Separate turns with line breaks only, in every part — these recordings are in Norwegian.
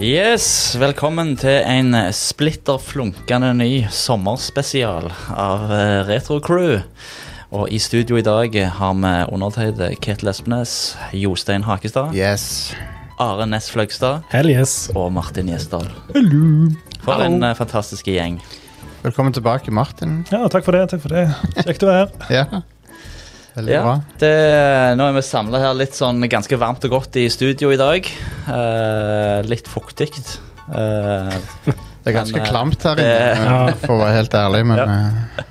Yes, velkommen til en splitter flunkende ny sommerspesial av eh, Retro Crew. Og i studio i dag har vi undertegnede Ketil Espenes, Jostein Hakestad,
Yes.
Are Næss Fløgstad
Hell yes.
og Martin Gjesdal. For en eh, fantastisk gjeng.
Velkommen tilbake, Martin.
Ja, takk for det. takk for det. Kjekt å være her.
Ja. Veldig
Ja,
bra.
det, nå er vi samla her litt sånn ganske varmt og godt i studio i dag. Eh, litt fuktig. Eh,
Det er ganske
Men, eh,
klamt her inne,
det-
eh, for å være helt ærlig, men
Ja.
eh,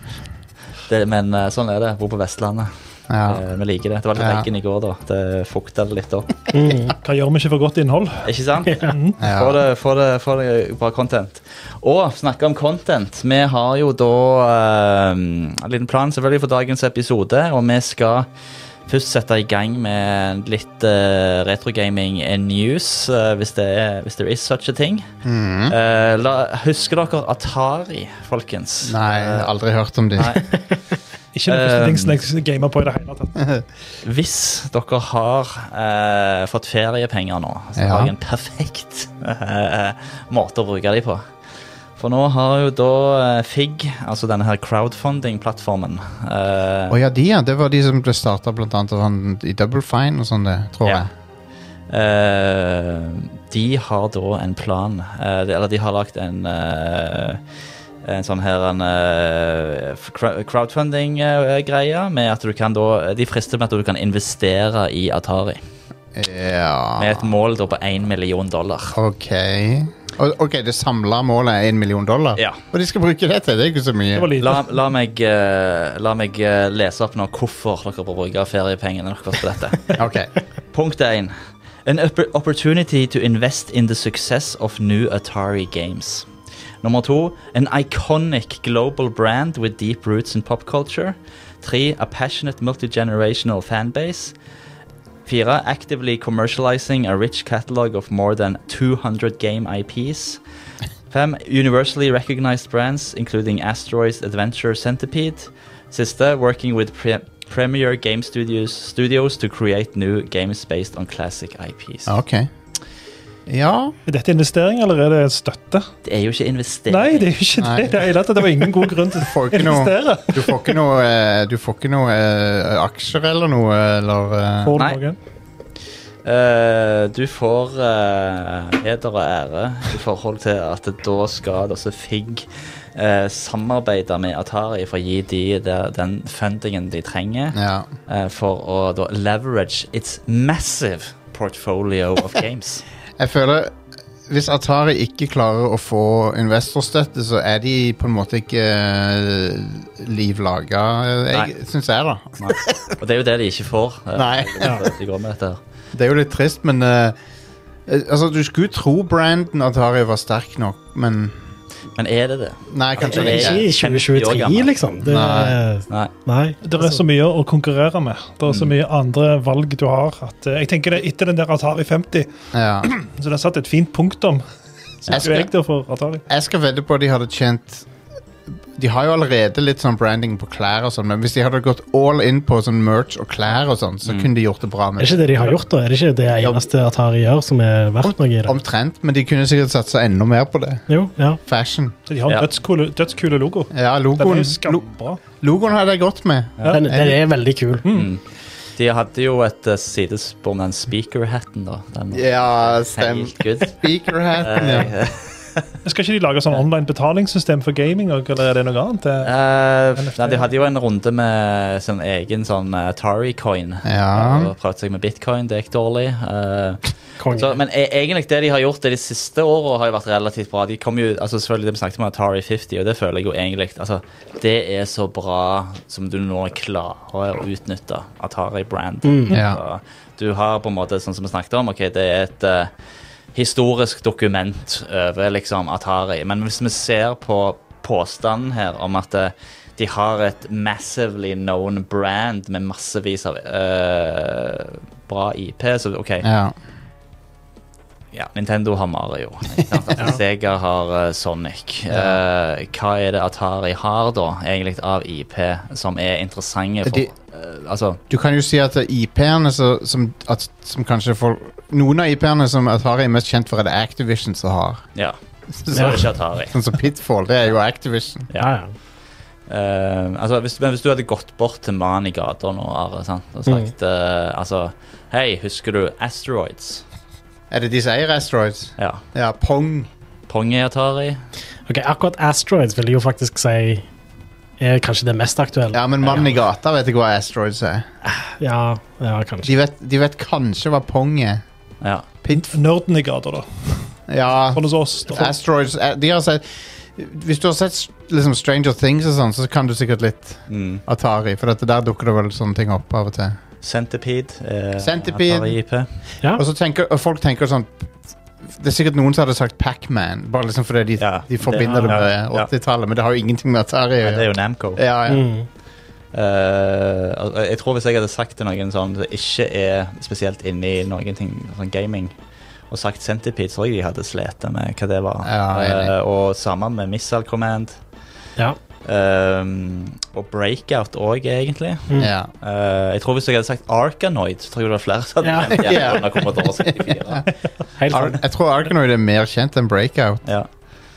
det, men eh, sånn er det. Bor på Vestlandet.
ja.
Eh, Vi liker det. Det var litt
Ja.
regn i går, da. Det fukta det litt opp.
Mm.
Hva gjør vi ikke for godt innhold?
Ikke sant?
Mm.
ja.
Få det, få det, få det bra content. Og snakke om content. Vi har jo da eh, en liten plan selvfølgelig for dagens episode, og vi skal først sette i gang med litt eh, retrogaming and news, eh, hvis, det er, hvis there is such a thing.
Mhm.
Eh, la, husker dere Atari, folkens?
Nei,
Eh,
aldri hørt om de.
Nei.
Ikke det
Um,
første ting som jeg gamer på i det hele tatt.
Hvis dere har eh, fått feriepenger nå, så
Ja.
har jeg en perfekt eh, måte å bruke dem på. For nå har jo da eh, FIG, altså denne her crowdfunding-plattformen eh,
Å ja, de, ja. Det var de som ble starta blant annet av han i Double Fine og sånn, det, tror
Ja.
jeg.
eh, De har da en plan, eh, de, eller de har lagt en eh, en sånn her en eh, f- crowd- crowdfunding-greie med at du kan da De frister med at du kan investere i Atari. Med et
Ja.
mål da på én million dollar.
OK. Og- OK, det samla målet er én million dollar?
Ja.
Og de skal bruke det til? Det er ikke så
Det
mye.
var lite.
La, la meg, eh, la meg eh, lese opp nå hvorfor dere bør bruke feriepengene deres på dette.
OK.
Punkt 1. An oppor- opportunity to invest in the success of new Atari games. Nummer to, an iconic global brand with deep roots in pop culture. Tre, a passionate multi-generational fanbase. Fire, actively commercializing a rich catalog of more than 200 game IPs. Fem, universally recognized brands including Asteroids, Adventure, Centipede. Siste, working with pre premier game studios, studios to create new games based on classic IPs.
ok. Ja
Er dette investering, eller er det støtte?
Det er jo ikke investering.
Nei, det er jo ikke
Nei.
det. Det, er hele tatt. det var ingen god grunn til
Du får
å
ikke noe,
investere.
du får ikke noe, eh, du får ikke noe eh, aksjer eller noe, eller eh,
Får du
Nei.
noe?
Eh, du får eh, heder og ære i forhold til at da skal også FIG eh, samarbeide med Atari for å gi de det- den fundingen de trenger
Ja.
eh, for å da leverage its massive portfolio of games.
Jeg føler hvis Atari ikke klarer å få investorstøtte, så er de på en måte ikke eh, liv laga,
Nei.
syns jeg, da.
Og det er jo det de ikke får. eh,
Nei.
når De går med dette. her.
Det er jo litt trist, men eh, eh, Altså, du skulle tro branden Atari var sterk nok, men
Men er det det?
Nei, kanskje
Det er
ikke.
Ikke i
50 år
2023,
gammel.
liksom. Det,
Nei.
Nei.
nei.
Det
Altså-
er så mye å konkurrere med. Det er så
Mm.
mye andre valg du har. At, eh, jeg tenker det Etter den der Atari 50,
Ja.
så det er satt et fint punktum.
Jeg
Syns jo
skal-
jeg, da, for Atari.
Jeg skal vedde på at de hadde tjent De har jo allerede litt sånn branding på klær og sånn, men hvis de hadde gått all in på sånn merch og klær og sånn, så kunne de gjort det bra
Er
med
det ikke det de har gjort, da? Er det ikke det eneste Atari gjør som er verdt noe i det?
Omtrent, men de kunne sikkert satsa enda mer på det.
Jo, ja.
Fashion.
Så de har en
Ja.
dødskule, dødskule logo.
Ja,
Den er
logoen,
jo
lo,
skambra.
logoen hadde jeg gått med.
Ja.
Den, den er veldig kul.
Mm.
Mm.
De hadde jo et eh, sidespor med den speaker-hatten, da. Den var
Ja, stem.
helt good.
Speakerhatten, ja.
Eh,
Skal ikke de lage sånn online betalingssystem for gaming, og- eller er det noe annet? Det-
Eh,
NFT.
nei, de hadde jo en runde med sin egen sånn Atari-coin.
Ja.
Og prøvde seg med bitcoin, det gikk dårlig. Eh, så,
altså,
Konge.
men e egentlig det de har gjort det de siste åra, har jo vært relativt bra. De kom jo, altså selvfølgelig det Vi snakket om Atari 50, og det føler jeg jo egentlig altså, Det er så bra som du nå klarer å utnytte Atari-brand.
Ja.
Så Du har på en måte, sånn som vi snakket om, ok, det er et eh, historisk dokument over liksom, Atari. Men hvis vi ser på påstanden her om at eh, de har et massively known brand med massevis av eh, bra IP, så OK.
ja.
Ja, Nintendo har Mario. ikke sant? Altså, Sega har eh, Sonic. Eh, hva er det Atari har, da, egentlig av IP som er interessante for
De-
eh, Altså
Du kan jo si at IP-ene så- som, at- som kanskje folk noen av IP-ene som Atari er mest kjent for, er det Activision som har.
Ja,
Så,
så er det ikke Atari.
Sånn som Pitfall, det er jo Activision.
Ja.
Ja, ja.
Eh, altså, hvis, men hvis du hadde gått bort til mannen i gata nå Are, sant? og sagt eh, altså, Hei, husker du Asteroids?
Er det de som eier Asteroids?
Ja.
Ja, Pong.
Pong i Atari.
Ok, Akkurat Asteroids vil jeg jo faktisk si er kanskje det mest aktuelle.
Ja, men mannen i gata vet ikke hva Asteroids er.
Ja, ja kanskje.
De vet, de vet kanskje hva Pong er.
Ja.
Pitf
Nerden i gata, da.
ja,
Sånn hos oss. Da.
Asteroids eh, de har sett, Hvis du har sett liksom, Stranger Things og sånn, så kan du sikkert litt
Mm.
Atari, for dette der dukker det vel sånne ting opp av og til.
Centipede. eh,
Centipede.
Atari IP.
Ja.
Og så tenker, og folk tenker sånn Det er sikkert noen som hadde sagt Pac-Man bare liksom fordi de,
Ja.
de forbinder det,
Ja, ja,
med
ja.
80-tallet, men det har jo ingenting med Atari
Ja,
å
det er
gjøre.
jo Namco.
Ja, ja.
Mm.
Eh, og- og jeg tror hvis jeg hadde sagt til noen sånn som ikke er spesielt inne i noen ting, sånn gaming, og sagt Centipede, tror jeg de hadde slitt med hva det var.
Ja, enig.
Eh, og sammen med Missile Command.
Ja.
Ehm, og Breakout òg, egentlig.
Mm.
ja.
Eh, jeg tror Hvis jeg hadde sagt Arkanoid, så tror jeg det var flere som
Ja.
hadde nevnt det.
Ja.
Når det kommer til år 74.
Helt
Ar
sant.
jeg tror Arkanoid er mer kjent enn Breakout.
Ja.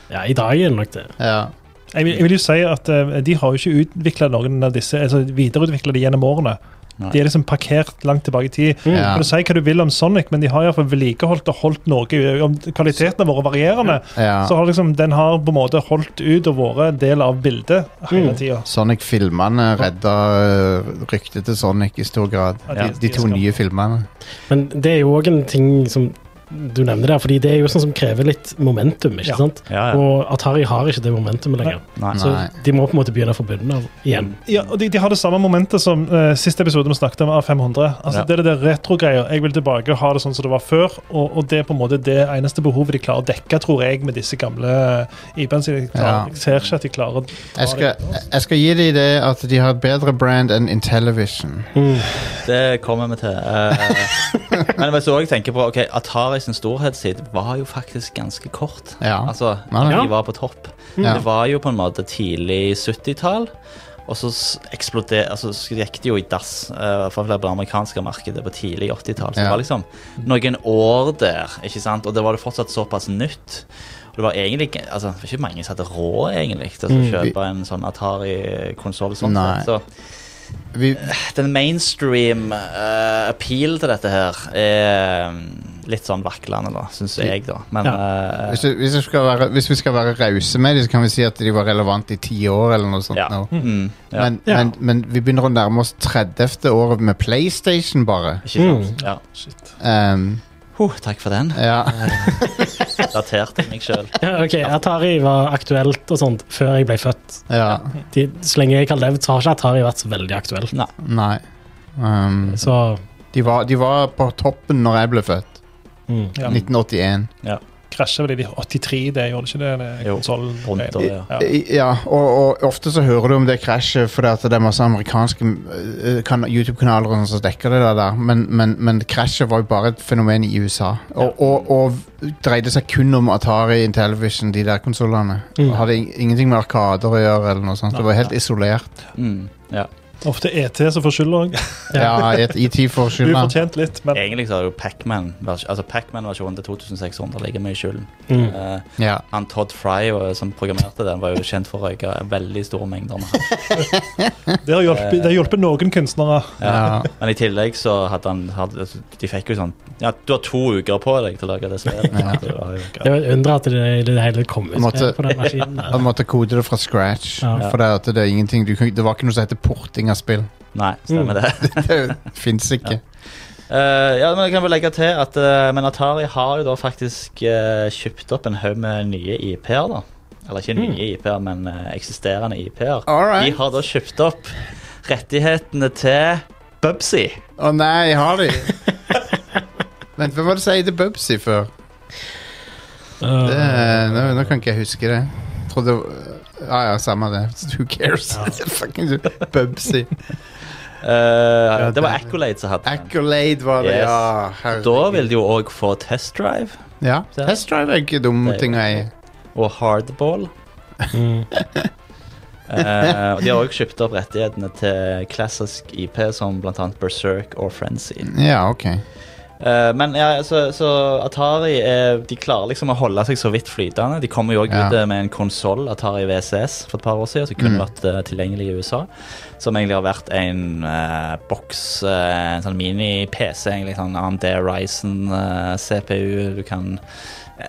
Ja, I dag er det nok det.
Ja.
Jeg, vil, jeg vil jo si at eh, de har jo ikke utvikla noen av disse, altså videreutvikla de gjennom årene.
Nei.
De er liksom parkert langt tilbake i tid.
Mm.
Ja.
Kan du si hva du vil om Sonic, men de har i hvert fall vedlikeholdt og holdt noe. Om kvaliteten har vært varierende, så
ja.
har liksom, den har på en måte holdt ut og vært en del av bildet hele
Mm.
tida.
Sonic-filmene redda øh, ryktet til Sonic i stor grad.
Ja, de-
De, de
de
to
skal-
nye filmene.
Men det er jo òg en ting som du nevner der, fordi det er jo sånn som krever litt momentum. ikke
Ja.
sant?
Ja, ja.
Og Atari har ikke det momentumet lenger.
Nei.
Så
Nei.
de må på en måte begynne fra bunnen av igjen.
Ja, og de, de har det samme momentet som eh, siste episode vi snakket om, A500. Altså,
Ja.
Det er det der retro-greia. Jeg vil tilbake og ha det sånn som det var før. Og, og det er på en måte det eneste behovet de klarer å dekke, tror jeg, med disse gamle IP-ene sine. De klarer-
Ja.
Jeg ser ikke at de klarer å
Jeg skal, jeg skal gi dem det at de har et bedre brand enn Intellivision.
Mm.
Det kommer vi til. Eh, men hvis du også tenker på ok, Atari sin storhetstid var jo faktisk ganske kort.
Ja. Mm.
Altså,
Nei, nei.
De var på topp.
Ja.
Det var jo på en måte tidlig 70-tall. Og så s- eksploder- altså, så gikk det jo i dass, eh, for det ble amerikanske markedet på tidlig 80-tall. Så det
Ja.
var liksom noen år der, ikke sant? og det var det fortsatt såpass nytt. Og det var egentlig ikke- altså, det var ikke mange som hadde råd egentlig, til å kjøpe en sånn Atari-konsoll. Sånn
Mm. Nei.
sett. så
Vi,
den mainstream eh, appeal til dette her er mm, litt sånn vaklende, da, syns jeg, da. Men eh,
hvis, vi- hvis, vi skal være, hvis vi skal være rause med dem, så kan vi si at de var relevante i ti år eller noe sånt.
ja.
nå.
Mm, ja.
Men,
Ja.
Men, men vi begynner å nærme oss 30. året med PlayStation, bare.
Ikke sant? Ja.
Shit.
Ehm,
Huh, takk for den.
ja.
Daterte meg sjøl.
Ja, ok, Atari var aktuelt og sånt før jeg ble født.
ja.
De, så lenge jeg har levd, så har ikke Atari vært så veldig aktuelt.
Nei.
Nei. Ehm,
Så
de, var, de var på toppen når jeg ble født.
mm.
Ja.
1981.
Krasja vel i de 83, det gjorde det ikke det? det
Jo,
konsollen?
rundt og- ja.
Ja.
Ja, og, og ofte så hører du om det krasjet fordi at det er masse amerikanske eh, kan- YouTube-kanaler og sånn som dekker det der, men, men, men krasjet var jo bare et fenomen i USA. Og, og, og dreide seg kun om Atari, Intellivision, de der konsollene.
Mm.
Og Hadde ing- ingenting med Arkader å gjøre eller noe sånt. Det var helt isolert.
Mm, ja.
Ofte ET som får skylda òg.
Ja, et ET for skylda.
Ufortjent litt, men
Egentlig så er det jo Pacman-versjonen altså Pac-Man versjonen til 2600 ligger mye i skylden.
Mm.
Eh,
Ja.
han Todd Fry og, som programmerte den, var jo kjent for å røyke veldig store mengder. med hasj.
det har hjulpet, det har hjulpet noen kunstnere.
Ja.
Ja.
Men i tillegg så hadde han hadde, De fikk jo sånn Ja, du har to uker på deg til å lage det spillet.
Ja.
Så det var jo-
Det er jo et under at det i det hele kom ut eh,
Måtte-
på den maskinen. der.
Han måtte kode det fra scratch.
Ja.
For det, at det, er ingenting, du, kan- det var ikke noe som heter porting av spill.
Nei, stemmer det.
Det fins ikke.
Eh, ja, men jeg kan vel legge til at eh, Men Atari har jo da faktisk eh, kjøpt opp en haug med nye IP-er, da. Eller ikke nye IP-er, men eh, eksisterende IP-er.
All
De
right.
har da kjøpt opp rettighetene til Bubsy.
Å nei, har de? Vent, hva var det som het Bubsy før?
Uh,
Det, nå, nå kan ikke jeg huske det. Trodde Ja ja, samme det. Who cares? Fucking Bubsy.
Eh, det var Accolade som hadde den.
Accolade var det,
Yes.
ja.
Da vil de jo òg få Test Drive
Ja.
Ja.
Test drive er ikke dum
Det er jo-
ting å eie.
og Hardball.
mm.
Eh, og de har òg kjøpt opp rettighetene til klassisk IP som bl.a. Berserk og Frenzy.
Ja, ok.
Eh, Eh, men ja, så, så Atari eh, de klarer liksom å holde seg så vidt flytende. De kommer jo også
Ja.
ut eh, med en konsoll, Atari VCS, for et par år siden, som kun
Mm.
vært eh, tilgjengelig i USA. Som egentlig har vært en eh, boks, eh, en sånn mini-PC, egentlig sånn AMD Ryzen eh, CPU. Du kan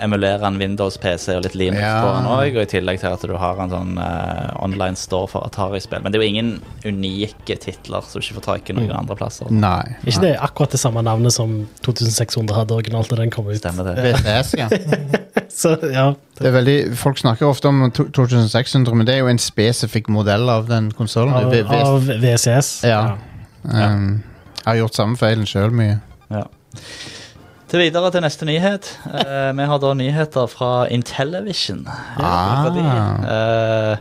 emulere en Windows-PC og litt Linux
Ja.
på den òg, og i tillegg til at du har en sånn eh, online store for Atari-spill. Men det er jo ingen unike titler som du ikke får tak i noen
Mm.
andre plasser.
Nei.
Ikke det akkurat det samme navnet som 2600 hadde originalt da den kom ut?
Stemmer
Eh,
det.
VCS, ja.
Så ja,
Det er veldig, folk snakker ofte om to- 2600, men det er jo en spesifikk modell av den konsollen.
av, av VCS.
Ja. Um, jeg har gjort samme feilen sjøl mye.
Til videre til neste nyhet. Eh, vi har da nyheter fra Intellivision.
Ah.
Eh,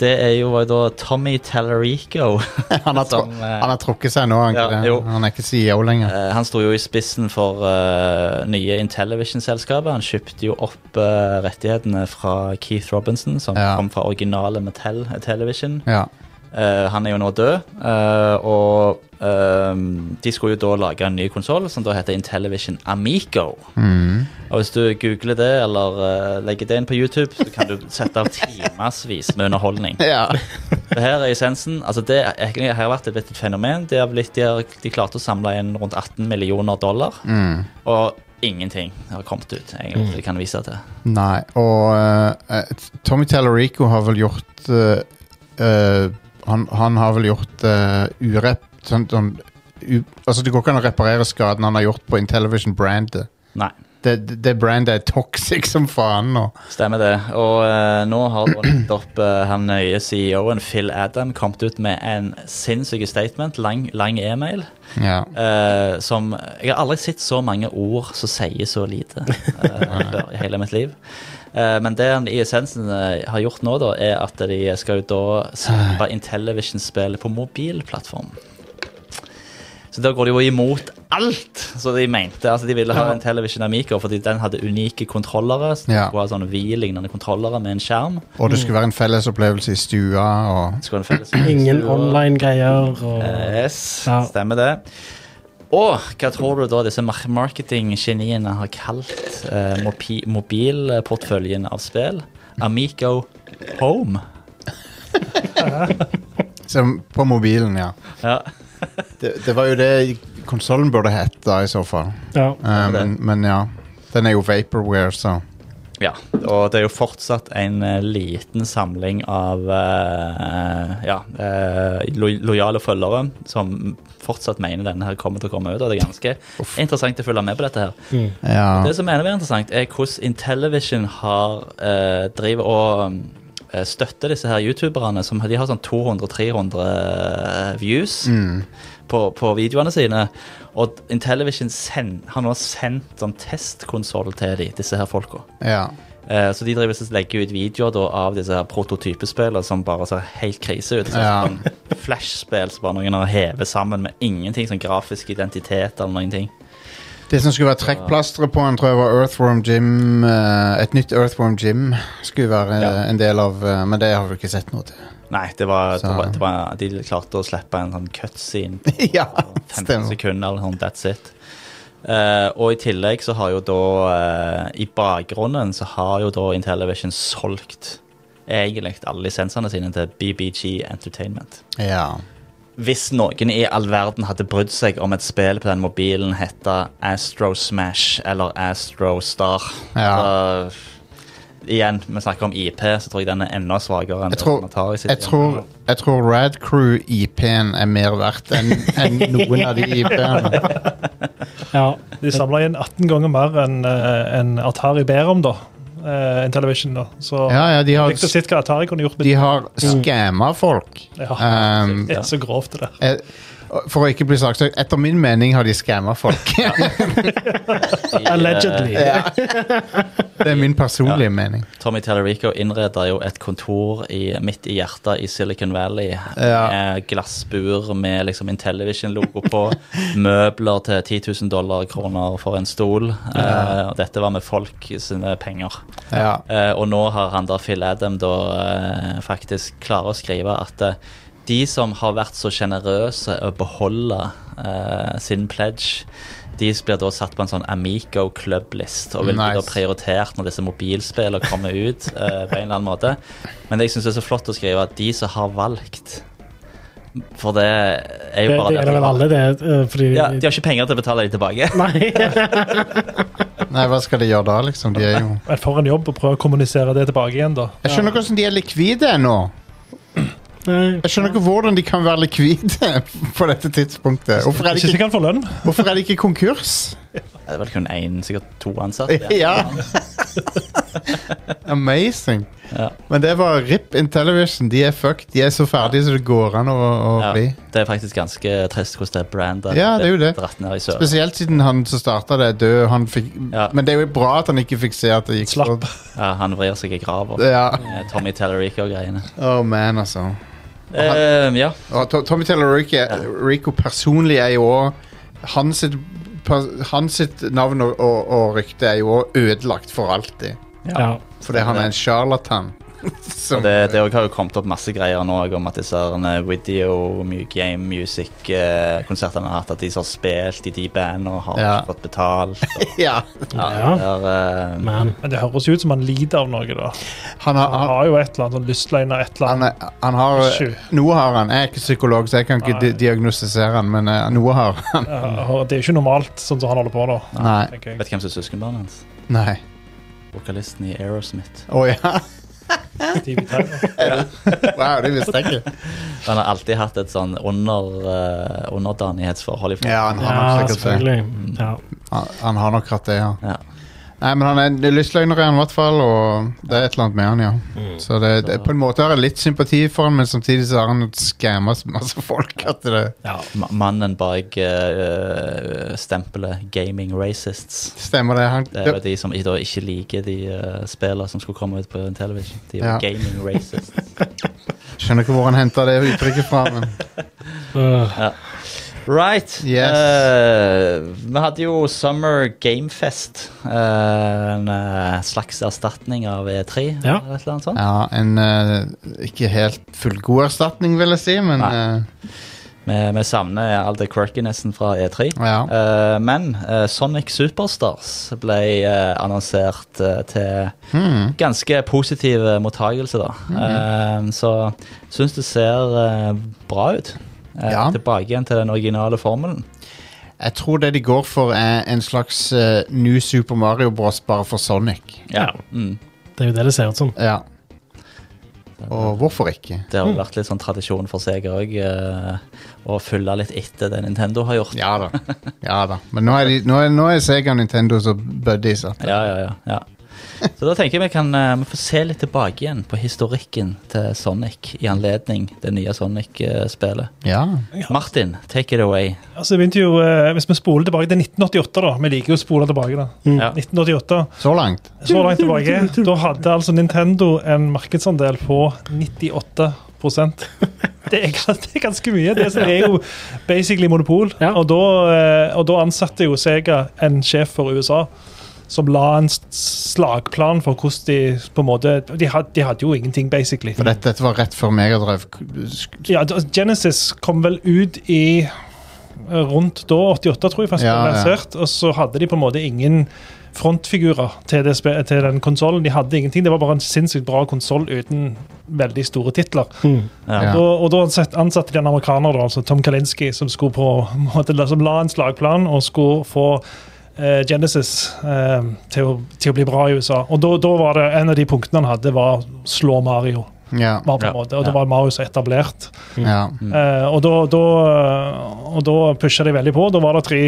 det er jo da Tommy Tallarico.
Han har, tru-
som, eh,
han har trukket seg nå, han,
Ja,
ikke det?
jo.
han er ikke CEO lenger.
eh, han sto jo i spissen for eh, nye Intellivision-selskapet. Han kjøpte jo opp eh, rettighetene fra Keith Robinson, som
Ja.
kom fra originale Mattel Television.
Ja.
Eh, han er jo nå død, eh, og eh, de skulle jo da lage en ny konsoll som da heter Intellivision Amico.
Mm.
Og hvis du googler det, eller eh, legger det inn på YouTube, så kan du sette av timevis med underholdning.
ja.
Det her er essensen. Altså det er, egentlig har vært et litt fenomen. De har, blitt, de har de klarte å samle inn rundt 18 millioner dollar,
Mm.
og ingenting har kommet ut, egentlig, som de kan vise til.
Nei. Og eh, Tommy Tallarico har vel gjort eh, eh, han, han har vel gjort uh, urep... Sånn, sånn, u, altså, det går ikke an å reparere skaden han har gjort på Intellivision-brandet.
Nei.
Det, det, det brandet er toxic som faen nå.
Stemmer det. Og eh, nå har da nettopp eh, han nye CEO-en Phil Adam kommet ut med en sinnssyk statement, lang, lang e-mail,
Ja.
eh, som Jeg har aldri sett så mange ord som sier så lite eh, før i hele mitt liv. Eh, men det han i essensen eh, har gjort nå, da, er at de skal jo da slippe Intellivision-spill på mobilplattform. Så da går de jo imot alt som de mente. Altså, de ville ha en Television Amico fordi den hadde unike kontrollere. Så de
Ja.
skulle ha sånne V-lignende kontrollere med en skjerm.
Og det skulle være en felles opplevelse i stua og
Det skulle ha en felles
Ingen
stue.
online-greier og
Eh. Yes,
Ja.
stemmer det. Og hva tror du da disse mar- marketinggeniene har kalt eh, mopi- mobilportføljen av spill? Amico Home.
Som på mobilen, ja.
Ja.
Det, det var jo det konsollen burde hett, da, i så fall.
ja.
Eh,
det.
men, men ja. Den er jo vaporware, så
ja. Og det er jo fortsatt en eh, liten samling av eh, ja, eh, lo lojale følgere som fortsatt mener denne her kommer til å komme ut. Og det er ganske
Uff.
interessant å følge med på dette her.
Mm.
Ja.
Det som er mer interessant, er hvordan Intellivision har eh, driver og um, eh, støtter disse her youtuberne. Som, de har sånn 200-300 eh, views
Mm.
på, på videoene sine. Og Intellivision send, har nå sendt sånn testkonsoll til de, disse her folka.
ja.
Eh, så de driver og legger ut videoer da, av disse her prototypespillene som bare ser helt krise ut.
Ja.
Sånn Flash-spill som bare noen har hevet sammen med ingenting. Sånn grafisk identitet eller noen ting.
Det som skulle være trekkplasteret på den, tror jeg var Earthworm Gym. eh, et nytt Earthworm Gym skulle være eh,
Ja.
en del av eh, Men det har vi ikke sett noe til.
Nei, det var, det
Så-
var, det var, de klarte å slippe en sånn cutscene på
ja,
15
stemmer.
sekunder eller sånn, that's it. Eh, og i tillegg så har jo da eh, I bakgrunnen så har jo da Intellivision solgt egentlig alle lisensene sine til BBG Entertainment.
Ja.
Hvis noen i all verden hadde brydd seg om et spill på den mobilen heta Astro Smash eller Astro Star
Ja.
så, eh, Igjen, vi snakker om IP, så tror jeg den er enda svakere enn
Jeg tror-
det som Atari sitt
Jeg tror, jeg tror Rad Crew IP-en er mer verdt enn enn noen av de IP-ene.
ja.
De samla inn 18 ganger mer enn eh, enn Atari ber om, da. Eh, en television, da. Så
Ja, ja, de har,
likte å se hva Atari kunne gjort med
de har skamma folk.
Ja,
Um,
det er så grovt, det der.
Eh, For å ikke bli saksøkt, etter min mening har de skamma folk.
I, eh,
Allegedly.
det er min personlige mening.
Tommy Tallarico innreder jo et kontor i, midt i hjertet i Silicon Valley.
Ja.
Med glassbur med liksom Intellivision-logo på. Møbler til 10 000 dollar kroner for en stol. Eh, og dette var med folk sine penger.
Ja.
Eh, og nå har han da Phil Adam da eh, faktisk klarer å skrive at eh, de som har vært så sjenerøse å beholde eh, sin pledge, de blir da satt på en sånn Amico club-list og vil bli da
Nice.
prioritert når disse mobilspillene kommer ut. eh, på en eller annen måte. Men det jeg syns er så flott å skrive, at de som har valgt For det er
Det,
jo bare
det er det
at-
vel alle, det. eh, Fordi
Ja, De har ikke penger til å betale de tilbake.
Nei.
Nei, hva skal de gjøre da, liksom? De er jo
Men For en jobb å prøve å kommunisere det tilbake igjen, da.
Jeg skjønner ikke hvordan de er likvide ennå.
Nei.
Jeg skjønner ikke hvordan de kan være likvide på dette tidspunktet. Hvorfor er de
Ikke
ikke,
sikkert han får lønn.
hvorfor er de ikke konkurs?
Det er vel kun én, sikkert to ansatte.
Ja. Amazing.
Ja.
Men det var RIP Intellivision. De er fucked. De er så ferdige som det går an å, å
Ja.
bli.
Det er faktisk ganske trist hvordan det er brandet.
Ja, det er jo det.
Dratt ned i søren.
Spesielt siden han som starta det, er død. Han fikk,
Ja.
Men det er jo bra at han ikke fikk se at det gikk
Slapp.
sånn.
Ja, han vrir seg i grava.
Ja.
Eh, Tommy Tellerico og greiene.
Oh man, altså.
Eh, ja.
Og To- Tommy Tellerico Rico personlig er jo òg Hans sitt per- hans sitt navn og, og, og rykte er jo òg ødelagt for alltid.
Ja.
Fordi han er en sjarlatan. Som-
Det, det også har jo kommet opp masse greier nå om at disse her eh, video, my- game, music-konsertene har hatt, at de som har spilt i de bandene, har
Ja.
ikke fått betalt.
ja.
Ja,
Ja.
det er, eh,
Man.
Men det høres jo ut som han lider av noe, da.
Han har,
Han
han,
har jo et eller annet sånn lystløgner, et eller
han,
annet.
er, han har
Sju.
Noe har han. Jeg er ikke psykolog, så jeg kan ikke
Nei.
di diagnostisere han, men eh, noe har han.
Ja, og det er jo ikke normalt, sånn som han holder på nå.
Nei.
tenker jeg.
vet du hvem som er søskenbarnet hans?
Nei.
Vokalisten i Aerosmith.
Å ja.
Steve Tyler.
Wow, det visste jeg ikke.
Han har alltid hatt et sånn under, eh, underdanighetsforhold i forhold.
Ja, han har
Ja,
nok sikkert det.
selvfølgelig. Ja.
Han, han har nok hatt det, ja.
Ja.
Nei, men han er en lystløgner, i han, i hvert fall, og det er et eller annet med han, ja. Så det, det, på en måte har jeg litt sympati for han, men samtidig så har han skamma masse folk. At det
Ja.
Ma- Mannen bak eh, stempelet Gaming Racists.
stemmer, det. Han,
Det er jo de som i- da ikke liker de eh, spillene som skulle komme ut på en television. De er jo
Ja.
gaming racists.
skjønner ikke hvor han henta det uttrykket fra, men
Øh,
Right.
Yes.
Eh, vi hadde jo Summer Gamefest. eh, en eh, slags erstatning av E3
Ja.
eller et eller annet sånt.
Ja, en eh, ikke helt fullgod erstatning, vil jeg si, men
Nei.
eh,
Vi, vi savner all det quirkinessen fra E3.
ja.
Eh, men eh, Sonic Superstars ble eh, annonsert eh, til
Hmm.
ganske positiv eh, mottagelse, da. Eh, så syns det ser eh, bra ut. Eh,
Ja.
Tilbake igjen til den originale formelen.
Jeg tror det de går for, er en slags eh, New Super Mario Bros. bare for Sonic.
Ja.
Mm.
Det er jo det det ser ut som.
Ja. Og hvorfor ikke?
Det har jo vært litt sånn tradisjon for seg òg, å følge litt etter det Nintendo har gjort.
Ja da. Ja da. Men nå er, de, nå er, nå er Sega og Nintendo så buddies. at-
Ja, ja, ja, ja. Så da tenker jeg vi kan eh, vi får se litt tilbake igjen på historikken til Sonic i anledning det nye Sonic-spelet.
Ja.
Martin, take it away.
Altså, jeg begynte jo, eh, hvis vi spoler tilbake til 1988, da. Vi liker jo å spole tilbake, da.
Ja.
1988.
Så langt.
Så langt tilbake. Da hadde altså Nintendo en markedsandel på 98 det er, gans- det er ganske mye. Det er jo basically monopol.
Ja.
Og, da, eh, og da ansatte jo Sega en sjef for USA som la en s- slagplan for hvordan de på en måte De, had, de hadde jo ingenting, basically.
For dette, dette var rett før Megadrive.
Ja, da- Genesis kom vel ut i eh, rundt da, 88 tror jeg faktisk,
Ja,
ble
ja.
lansert, og så hadde de på en måte ingen frontfigurer til, det, spe- til den konsollen. De hadde ingenting, det var bare en sinnssykt bra konsoll uten veldig store titler.
Mm.
Ja.
Ja.
Da, og da ansett- ansatte de en amerikaner, da, altså Tom Kalinski, som, skulle på, en måte, som la en slagplan og skulle få eh, Genesis eh, til, å, til å bli bra i USA. Og da, da var det en av de punktene han hadde, var slå Mario.
Ja.
Var på
Ja,
en måte, og det
ja.
var Mario som etablert.
ja.
Eh, og da, da, eh, og da pusha de veldig på. Da var det tre,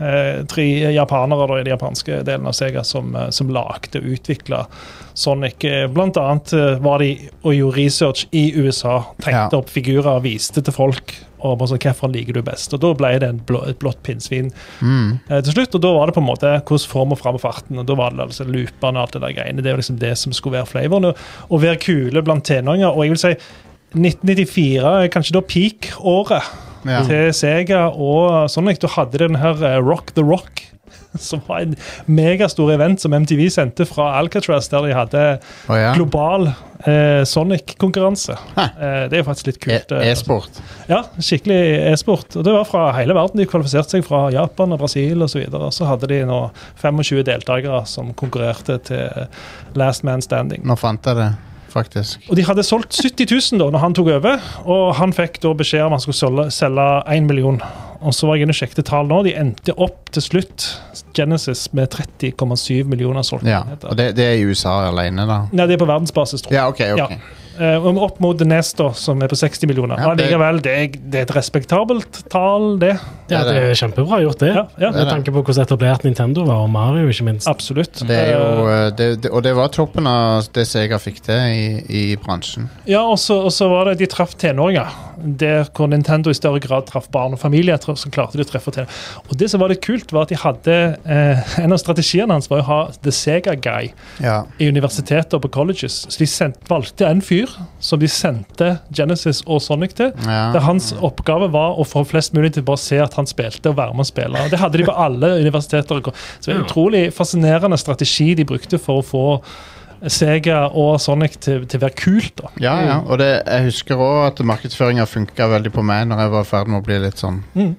eh, tre japanere da, i den japanske delen av Sega som, eh, som lagde og utvikla Sonic. Eh, Blant annet eh, var de og gjorde research i USA.
Ja.
Tenkte opp figurer, viste til folk og bare sånn, hvilken liker du best. Og da ble det en blå, et blått pinnsvin
Mm.
eh, til slutt. Og da var det på en måte hvordan form og fram og farten. Og da var det altså loopene og alt det der greiene. Det var liksom det som skulle være flavoren. og- Å være kule blant tenåringer. Og jeg vil si 1994 er kanskje da peak-året
Ja.
til Sega og Sonic. Da hadde den her eh, Rock the Rock. Som var en megastor event som MTV sendte fra Alcatraz, der de hadde
Å ja.
global eh, Sonic-konkurranse.
Hæ.
Eh, det er jo faktisk litt
E-
kult. eh,
E-sport.
ja, skikkelig e-sport. Og det var fra hele verden. De kvalifiserte seg fra Japan og Brasil osv. Så, videre. så hadde de nå 25 deltakere som konkurrerte til Last Man Standing.
Nå fant jeg det, faktisk.
Og de hadde solgt 70 000 da når han tok over, og han fikk da beskjed om han skulle solge- selge 1 million. Og så var jeg inne og sjekket tall nå. De endte opp til slutt Genesis med 30,7 millioner solgte
Ja, Og
enheter.
det, det er i USA alene, da.
Nei, det er på verdensbasis, tror jeg.
Ja, OK. ok.
Eh, og opp mot The Nest, da, som er på 60 millioner.
Ja,
Men
det-
likevel, det er, det er et respektabelt tall, det.
Ja, det er kjempebra gjort, det.
Ja, ja.
Det er
Med
det.
tanke på hvordan etablert Nintendo var, og Mario, ikke minst.
Absolutt.
Det er jo,
Eh,
eh, det, det, og det var toppen av det Sega fikk til i, i bransjen.
Ja, og så, og så var det de traff tenåringer. Der hvor Nintendo i større grad traff barn og familier. tro- Så klarte de å treffe tenåringer. Og det som var litt kult, var at de hadde eh, En av strategiene hans var å ha The Sega Guy
Ja.
i universiteter og på colleges. Så de sendt, valgte en fyr som de sendte Genesis og Sonic til. Der
ja.
hans oppgave var å få flest mulig til bare å se at han spilte og være med å spille. Og Det hadde de på alle universiteter. og- Så det er en utrolig fascinerende strategi de brukte for å få Sega og Sonic til, til å være kult. da.
Ja, ja. Og det, jeg husker òg at markedsføringa funka veldig på meg når jeg var i ferd med å bli litt sånn
Mm.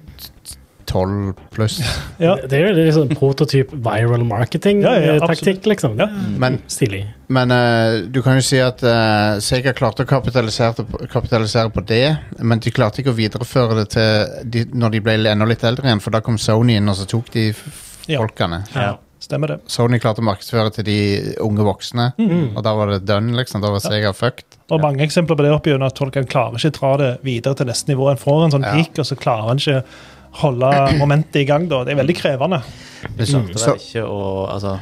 tolv pluss.
Ja.
Det det er jo liksom prototyp
Ja, ja,
viral
ja,
marketing-taktikk, liksom.
Ja.
Men,
Stilig.
men eh, du kan jo si at eh, Sega klarte å kapitalisere, på- kapitalisere på det, men de klarte ikke å videreføre det til de, når de ble enda litt eldre igjen, for da kom Sony inn, og så tok de f-
Ja.
folkene.
Ja.
Stemmer det.
Sony klarte å markedsføre til de unge voksne,
Mm.
og da var det done, liksom. Da var
Ja.
Sega fucked.
Og mange eksempler på det oppigjennom at folk kan klarer ikke dra det videre til neste nivå. En får en sånn
Ja.
peak, og så klarer en ikke holde momentet i gang. da. Det er veldig krevende.
Vi klarte
Mm, Så-
vel ikke å Altså,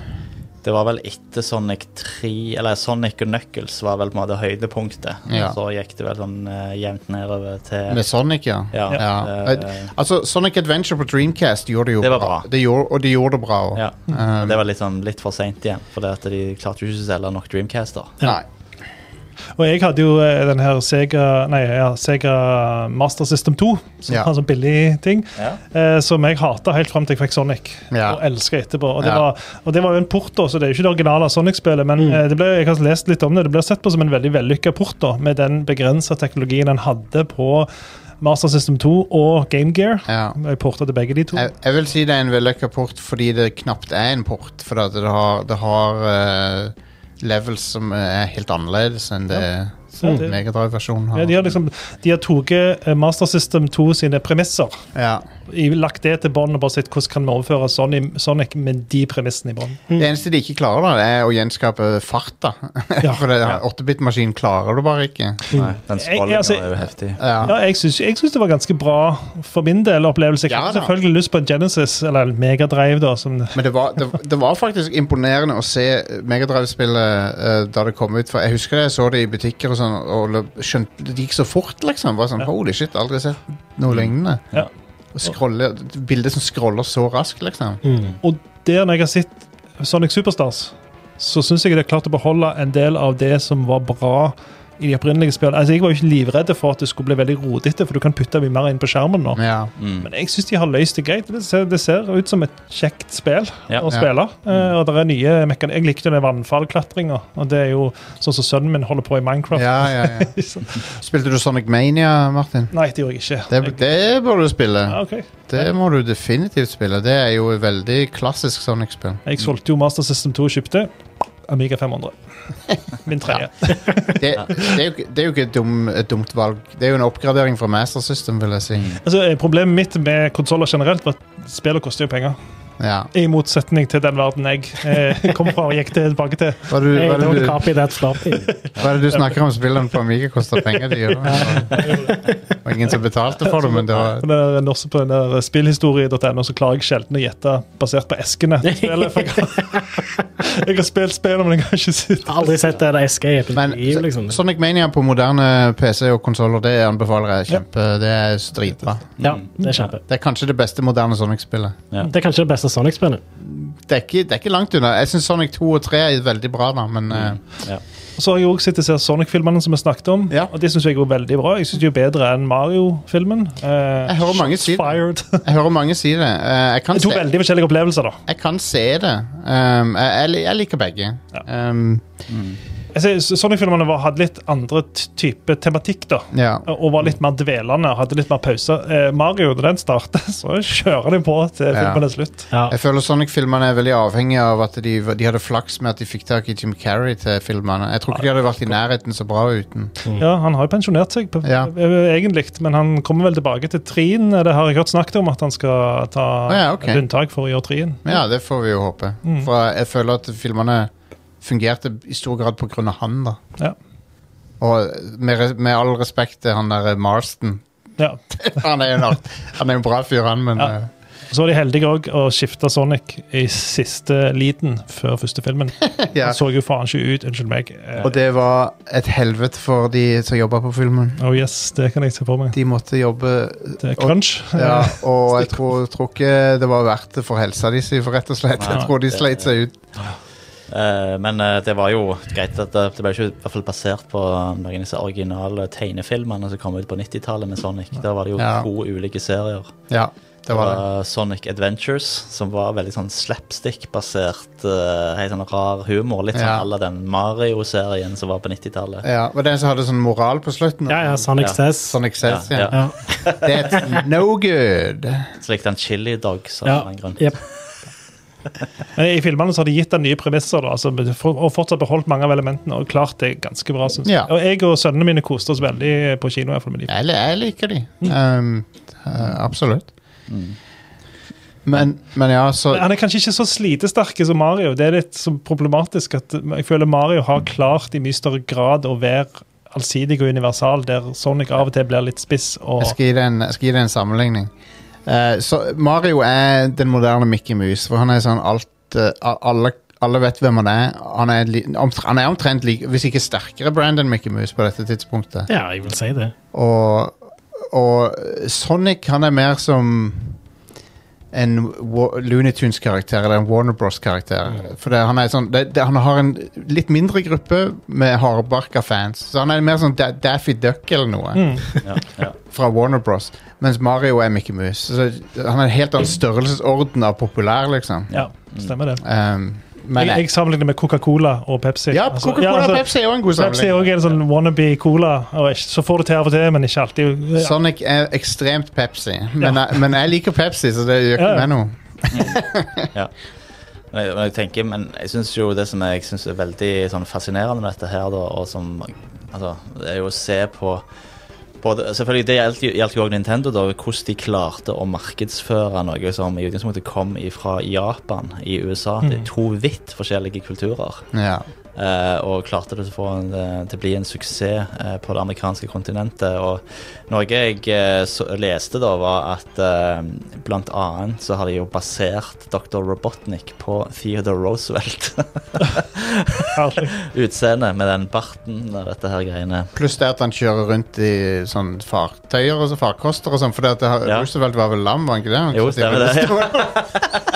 det var vel etter Sonic 3 Eller Sonic og Knuckles var vel på en måte høydepunktet.
Ja.
Så gikk det vel sånn eh, jevnt nedover til
Med Sonic, ja.
Ja.
Ja.
eh,
Altså, Sonic Adventure på Dreamcast gjorde det jo
Det var bra.
Det gjorde, og de gjorde det bra Um, òg.
ja. Og det var litt sånn litt for seint igjen, for det at de klarte jo ikke å selge nok Dreamcaster.
Nei.
Og jeg hadde jo eh, den her Sega, nei, ja, Sega Master System 2, som
Ja.
var en sånn billig ting,
Ja.
eh, som jeg hata helt fram til jeg fikk Sonic.
Ja.
Og elska etterpå. Og det,
Ja. Mm.
var, og det var jo en port, da, så det er jo ikke det originale Sonic-spillet, men eh, det ble, jeg har lest litt om det, det ble sett på som en veldig vellykka port, da, med den begrensa teknologien en hadde på Master System 2 og Game Gear.
Ja.
Jeg porta til begge de to.
Jeg, jeg vil si det er en vellykka port fordi det knapt er en port. For at det har, det har eh, levels som er helt annerledes enn det
Ja, det-
Megadrive-versjonen har.
Ja, de har liksom, de har tatt eh, Master System 2 sine premisser,
Ja.
i- lagt det til bånn og bare sett hvordan kan vi overføre Sonic, Sonic med de premissene i bånn.
Det eneste de ikke klarer, da, det er å gjenskape fart. da
Ja.
For det- 8-bit-maskinen klarer du bare ikke.
Nei, den
Jeg-
scrollingen
altså-
var jo heftig.
Ja, jeg syns, jeg syns det var ganske bra for min del opplevelse. Jeg
Ja,
hadde
da.
selvfølgelig lyst på en Genesis, eller en Megadrive, da. Som,
Men det var, det, det var faktisk imponerende å se Megadrive-spillet eh, da det kom ut. For jeg husker jeg så det i butikker og sånn, og løp- skjønte det gikk så fort, liksom. Bare sånn, Holy shit, aldri sett noe lignende.
Ja.
Og scrolle, bildet som scroller så raskt, liksom.
Mm.
og der når jeg har sett Sonic Superstars, så syns jeg det er klart å beholde en del av det som var bra i de opprinnelige spillene. Altså, jeg var jo ikke livredd for at det skulle bli veldig rodete, for du kan putte mye mer inn på skjermen nå.
Ja.
Mm.
Men jeg syns de har løst det greit. Det ser, det ser ut som et kjekt spill
Ja.
å spille.
Mm.
Eh, og det er nye mekan Jeg likte den vannfallklatringa, og det er jo sånn som sønnen min holder på i Minecraft.
Ja, ja, ja.
Så-
Spilte du Sonic Mania, Martin?
Nei, det gjorde jeg ikke.
Det,
Jeg-
det bør du spille.
ja, ok.
Det må du definitivt spille. Det er jo et veldig klassisk Sonic-spill.
Jeg solgte jo Master System 2 og kjøpte Amiga 500. Min tredje.
Det, det, er jo ikke- det er jo ikke et, dum, et dumt valg. Det er jo en oppgradering fra Master System, vil jeg si.
Altså, eh, problemet mitt med konsoller generelt var at spillet koster jo penger.
Ja.
I motsetning til den verden jeg eh, kom fra og gikk tilbake til.
Hva er det du,
Hey,
hva er det
don't
du,
copy that floppy.
Hva er det du snakker om spillene på Amiga koster penger? De gjør det var ingen som betalte for det, men det var
På den der norske- på den der spillhistorie.no så klarer jeg sjelden å gjette basert på eskene. til spillet, for Jeg har, jeg har spilt spillet, men jeg har ikke sett
Aldri sett en SK i Apple
men
TV, liksom.
Sonic Mania på moderne PC og konsoller, det anbefaler jeg. Kjempe, det er så dritbra.
Ja, det er kjempe.
Det er kanskje det beste moderne Sonic-spillet.
Det er kanskje det beste Sonic-spillet.
Mm.
Det, er ikke- det er ikke langt unna. Jeg syns Sonic 2 og 3 er veldig bra, da, men eh,
Ja.
Og så har jeg også sett disse Sonic-filmene som vi snakket om,
Ja.
og de syns jeg var veldig bra. Jeg synes de er bedre enn Mario-filmen. Eh,
Jeg hører mange
Shots
si det.
Fired.
Jeg hører mange si det. Eh, Jeg kan
To
se,
veldig forskjellige opplevelser, da.
jeg kan se det. Um, jeg, jeg li- jeg liker begge. Um,
Jeg synes Sonic-filmene var- hadde litt andre t- type tematikk, da.
ja.
Og var litt mer dvelende og hadde litt mer pauser. Eh, Mario, når den starter, så kjører de på til
Ja.
filmen er slutt.
Ja.
Jeg føler Sonic-filmene er veldig avhengige av at de, de hadde flaks med at de fikk tak i Jim Carrey til filmene. Jeg tror ikke de hadde vært i nærheten så bra uten.
Ja, Han har jo pensjonert seg, på,
Mm. Ja.
eh, egentlig, men han kommer vel tilbake til Trien. Det har jeg hørt snakket om, at han skal ta
Å ja, ok.
et unntak for å gjøre Trien.
Men ja, det får vi jo håpe.
Mm.
For jeg føler at filmene fungerte i stor grad på grunn av han, da.
Ja.
Og med, re- med all respekt til han der eh, Marston.
Ja.
Han er jo en, art- han er jo en bra fyr, han, men
Ja.
eh,
Så var de heldige òg å skifte Sonic i siste liten før første filmen.
ja.
Han så jo faen ikke ut. Unnskyld meg. Eh,
Og det var et helvete for de som jobba på filmen.
Oh yes, det kan jeg se for meg.
De måtte jobbe
Det er crunch.
Ja, og jeg tror, tror ikke det var verdt det for helsa de si, for rett og slett. Jeg
Nei,
tror de
det-
sleit seg ut.
Eh, men eh, det var jo greit at det, det ble ikke i hvert fall basert på noen av disse originale tegnefilmene som kom ut på 90-tallet med Sonic. Der var det jo
Ja.
to ulike serier.
Ja, det var det.
Sonic Adventures, som var veldig sånn slapstick-basert. eh, helt sånn rar humor. Litt sånn
Ja.
à la den Mario-serien som var på 90-tallet.
Ja, var det den som hadde sånn moral på slutten?
ja, ja, Sonic
Ja.
Says.
Sånn excess,
Ja,
ja.
Ja.
Det er et no good.
Så likte han Chili Dogs av
Ja.
en grunn.
Jep.
Men I filmene så har de gitt den nye premisser da, altså, for, og fortsatt beholdt mange av elementene. Og klart det er ganske bra, synes jeg.
Ja.
Og jeg og sønnene mine koste oss veldig på kino. i hvert fall med de.
Jeg, li- jeg liker de. Um, eh, absolutt. Men, men ja, så
Men Han er kanskje ikke så slitesterke som Mario. Det er litt så problematisk at jeg føler Mario har klart i mye større grad å være allsidig og universal, der Sonic av og til blir litt spiss. og...
Jeg skal gi det en, jeg skal gi det en sammenligning. Eh, så Mario er den moderne Mickey Mouse. For han er sånn alt eh, al- alle, alle vet hvem han er. Han er, li, omtr- han er omtrent lik, hvis ikke sterkere brand enn Mickey Mouse på dette tidspunktet.
ja, jeg vil si det.
Og, og Sonic han er mer som en Wa- Looney Tunes-karakter eller en Warner Bros.-karakter. For det, han, er sånn, det, det, han har en litt mindre gruppe med hardbarka fans. Så han er mer sånn da Daffy Duck eller noe
Mm.
Ja, ja.
fra Warner Bros. Mens Mario er Mickey Mouse. Så han er en helt annen størrelsesorden av populær, liksom.
Ja, stemmer det.
Um, men
Jeg, jeg sammenligner med Coca-Cola og Pepsi.
ja,
Altså,
Coca-Cola
ja, altså,
og Pepsi er jo en god
Pepsi er
sammenligning.
også en sånn wannabe cola. Og ikke, så får du til av og til, men ikke alltid. Ja.
Sonic er ekstremt Pepsi, men, jeg, men jeg liker Pepsi, så det gjør ikke
Ja, ja.
meg noe.
Men jeg, men jeg tenker, men jeg synes jo det som jeg synes er veldig sånn, fascinerende med dette her, da, og som altså, det er jo å se på både, selvfølgelig, Det gjaldt jo- gjaldt jo også Nintendo, da, hvordan de klarte å markedsføre noe som i utgangspunktet kom fra Japan i USA. Det er to vidt forskjellige kulturer.
Ja.
Eh, og klarte det til å få en, eh, til å bli en suksess eh, på det amerikanske kontinentet. Og noe jeg eh, så, leste da, var at eh, blant annet så har de jo basert Dr. Robotnik på Theodore Roosevelt.
herlig.
Utseendet med den barten og dette her greiene.
Pluss det at han kjører rundt i sånn fartøyer og så farkoster og sånn, for det har,
Ja.
Roosevelt var vel lam, var han ikke det? Han
Jo,
satt i
stemmer det,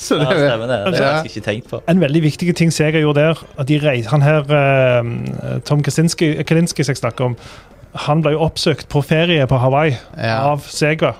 så
Ja,
det er jo-
stemmer det. Det
Ja.
har jeg ikke tenkt på.
En veldig viktig ting som jeg har gjort der at de reis, Han her, eh, Tom Kaczynski, Kalinski, som jeg snakker om, han ble jo oppsøkt på ferie på Hawaii
ja.
av Sega.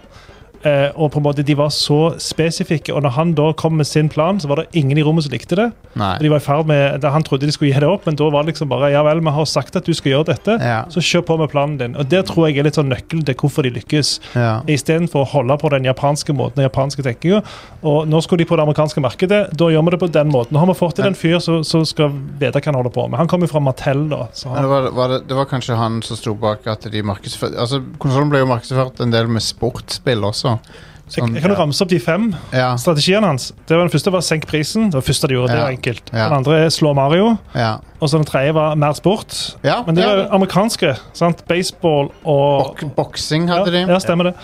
Eh, og på en måte, De var så spesifikke, og når han da kom med sin plan, så var det ingen i rommet som likte det. Og
Nei.
de var i ferd med, da Han trodde de skulle gi det opp, men da var det liksom bare ja vel, vi har sagt at du skal gjøre dette,
Ja.
så kjør på med planen din. Og Der tror jeg er litt sånn nøkkelen til hvorfor de lykkes.
Ja.
Istedenfor å holde på den japanske måten. den japanske tenkingen. Og nå skulle de på det amerikanske markedet. Da gjør vi det på den måten. Nå har vi fått til en fyr som som skal vite hva han holder på med. Han kommer jo fra Mattel, da. Så
Men det
han,
var, var det, det var kanskje han som sto bak at de markedsførte Altså, konsollen ble jo markedsført en del med sportsspill også.
jeg,
Sånn,
jeg kan jo ramse opp de fem
ja,
strategiene hans. Det var Den første var senk prisen. Det var første de gjorde, det var
Ja.
enkelt.
Ja.
Den andre er slå Mario.
ja.
Og så den tredje var mer sport.
ja
Men det var
ja.
jo amerikanske. sant? Baseball og
Bok, boksing hadde
ja,
de.
ja, stemmer det.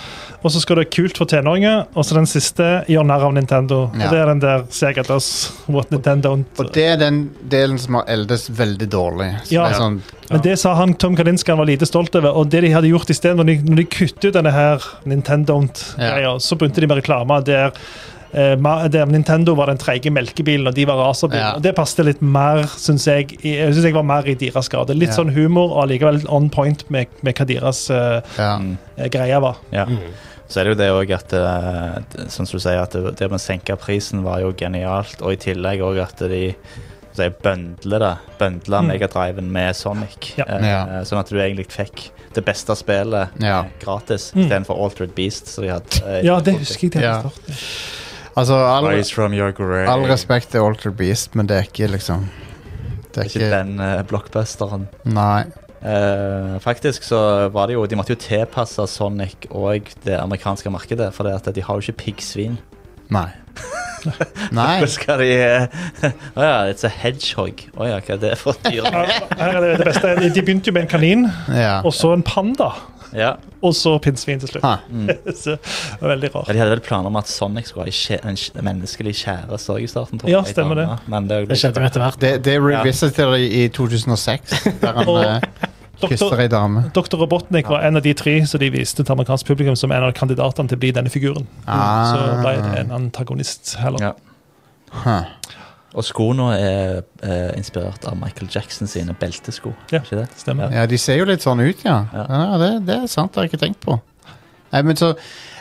Og så skal det være kult for tenåringer. Og så den siste gjør narr av Nintendo.
Ja.
Og det er den der Sega does what Nintendo
Og
don't.
det er den delen som har eldes veldig dårlig. Så
Ja.
det er sånn,
Men det sa han Tom Kalinska han var lite stolt over. Og det de hadde gjort isteden, når, de- når de kuttet ut denne her Nintendo don't-greia, så begynte de med reklame der eh, Ma- der Nintendo var den treige melkebilen, og de var racerbilen.
Ja.
Og Det passet litt mer, syns jeg. i- Jeg synes jeg var mer i deres grad. Litt
Ja.
sånn humor og allikevel on point med, med hva deres eh,
Ja.
Mm.
eh, greie var.
Ja.
Mm.
Så er det jo det òg at eh, det- Sånn som du sier, at det, det med å senke prisen var jo genialt. Og i tillegg òg at de så å si, bøndler det. Bøndler
Mm.
Megadriven med Sonic.
Ja.
eh,
Ja.
Sånn at du egentlig fikk det beste spillet
Ja.
eh, gratis
Mm.
istedenfor Altered Beast. Så de hadde, eh,
Ja, det husker jeg. det
Ja.
jeg forstår.
Altså, all,
Rise from your grave.
all respekt til Alter Beast, men det er ikke liksom Det er
Ikke
ikke
den eh, blockbusteren.
Nei.
Eh, faktisk så var det jo De måtte jo tilpasse Sonic og det amerikanske markedet, for det at de har jo ikke piggsvin.
Nei. Nei.
Da skal de eh, Å ja, it's a hedgehog. Å ja, hva er det for et dyr?
Ja, Her er det, det beste. De begynte jo med en kanin,
Ja.
og så en panda,
Ja.
og så pinnsvin til slutt.
Ha.
Mm.
Så, det var veldig
ja,
rart.
De hadde vel planer om at Sonic skulle ha en kje- en kje- menneskelig kjæreste også i starten. tror
Ja,
jeg,
stemmer det.
dame. Men det,
Det skjedde jo etter hvert.
Det, det revisiter de i 2006, der han
Og-
eh, kysser
Doktor,
ei dame.
Dr. Robotnik var en av de tre som de viste til amerikansk publikum som en av kandidatene til å bli denne figuren. Mm,
Ah.
Så ble det en antagonist heller.
Ja.
Huh.
Og skoene er eh, inspirert av Michael Jackson sine beltesko.
Ja.
Ikke det?
Stemmer.
Ja, de ser jo litt sånn ut, ja. ja.
Ja.
det, det er sant, det har jeg ikke tenkt på. Nei, men så,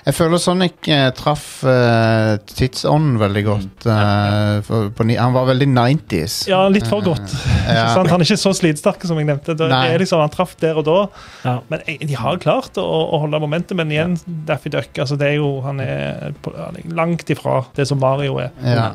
jeg føler Sonic eh, traff eh, tidsånden veldig godt. eh, for, på, ni- han var veldig 90s.
Ja, litt for godt. Ikke sant? Han er ikke så slitsterk som jeg nevnte. Det
Nei.
er liksom, han traff der og da.
Ja.
Men jeg- de har klart å, å holde momentet, men igjen, Daffy Duck altså det er jo, han, er på, han er langt ifra det som Mario er.
Ja.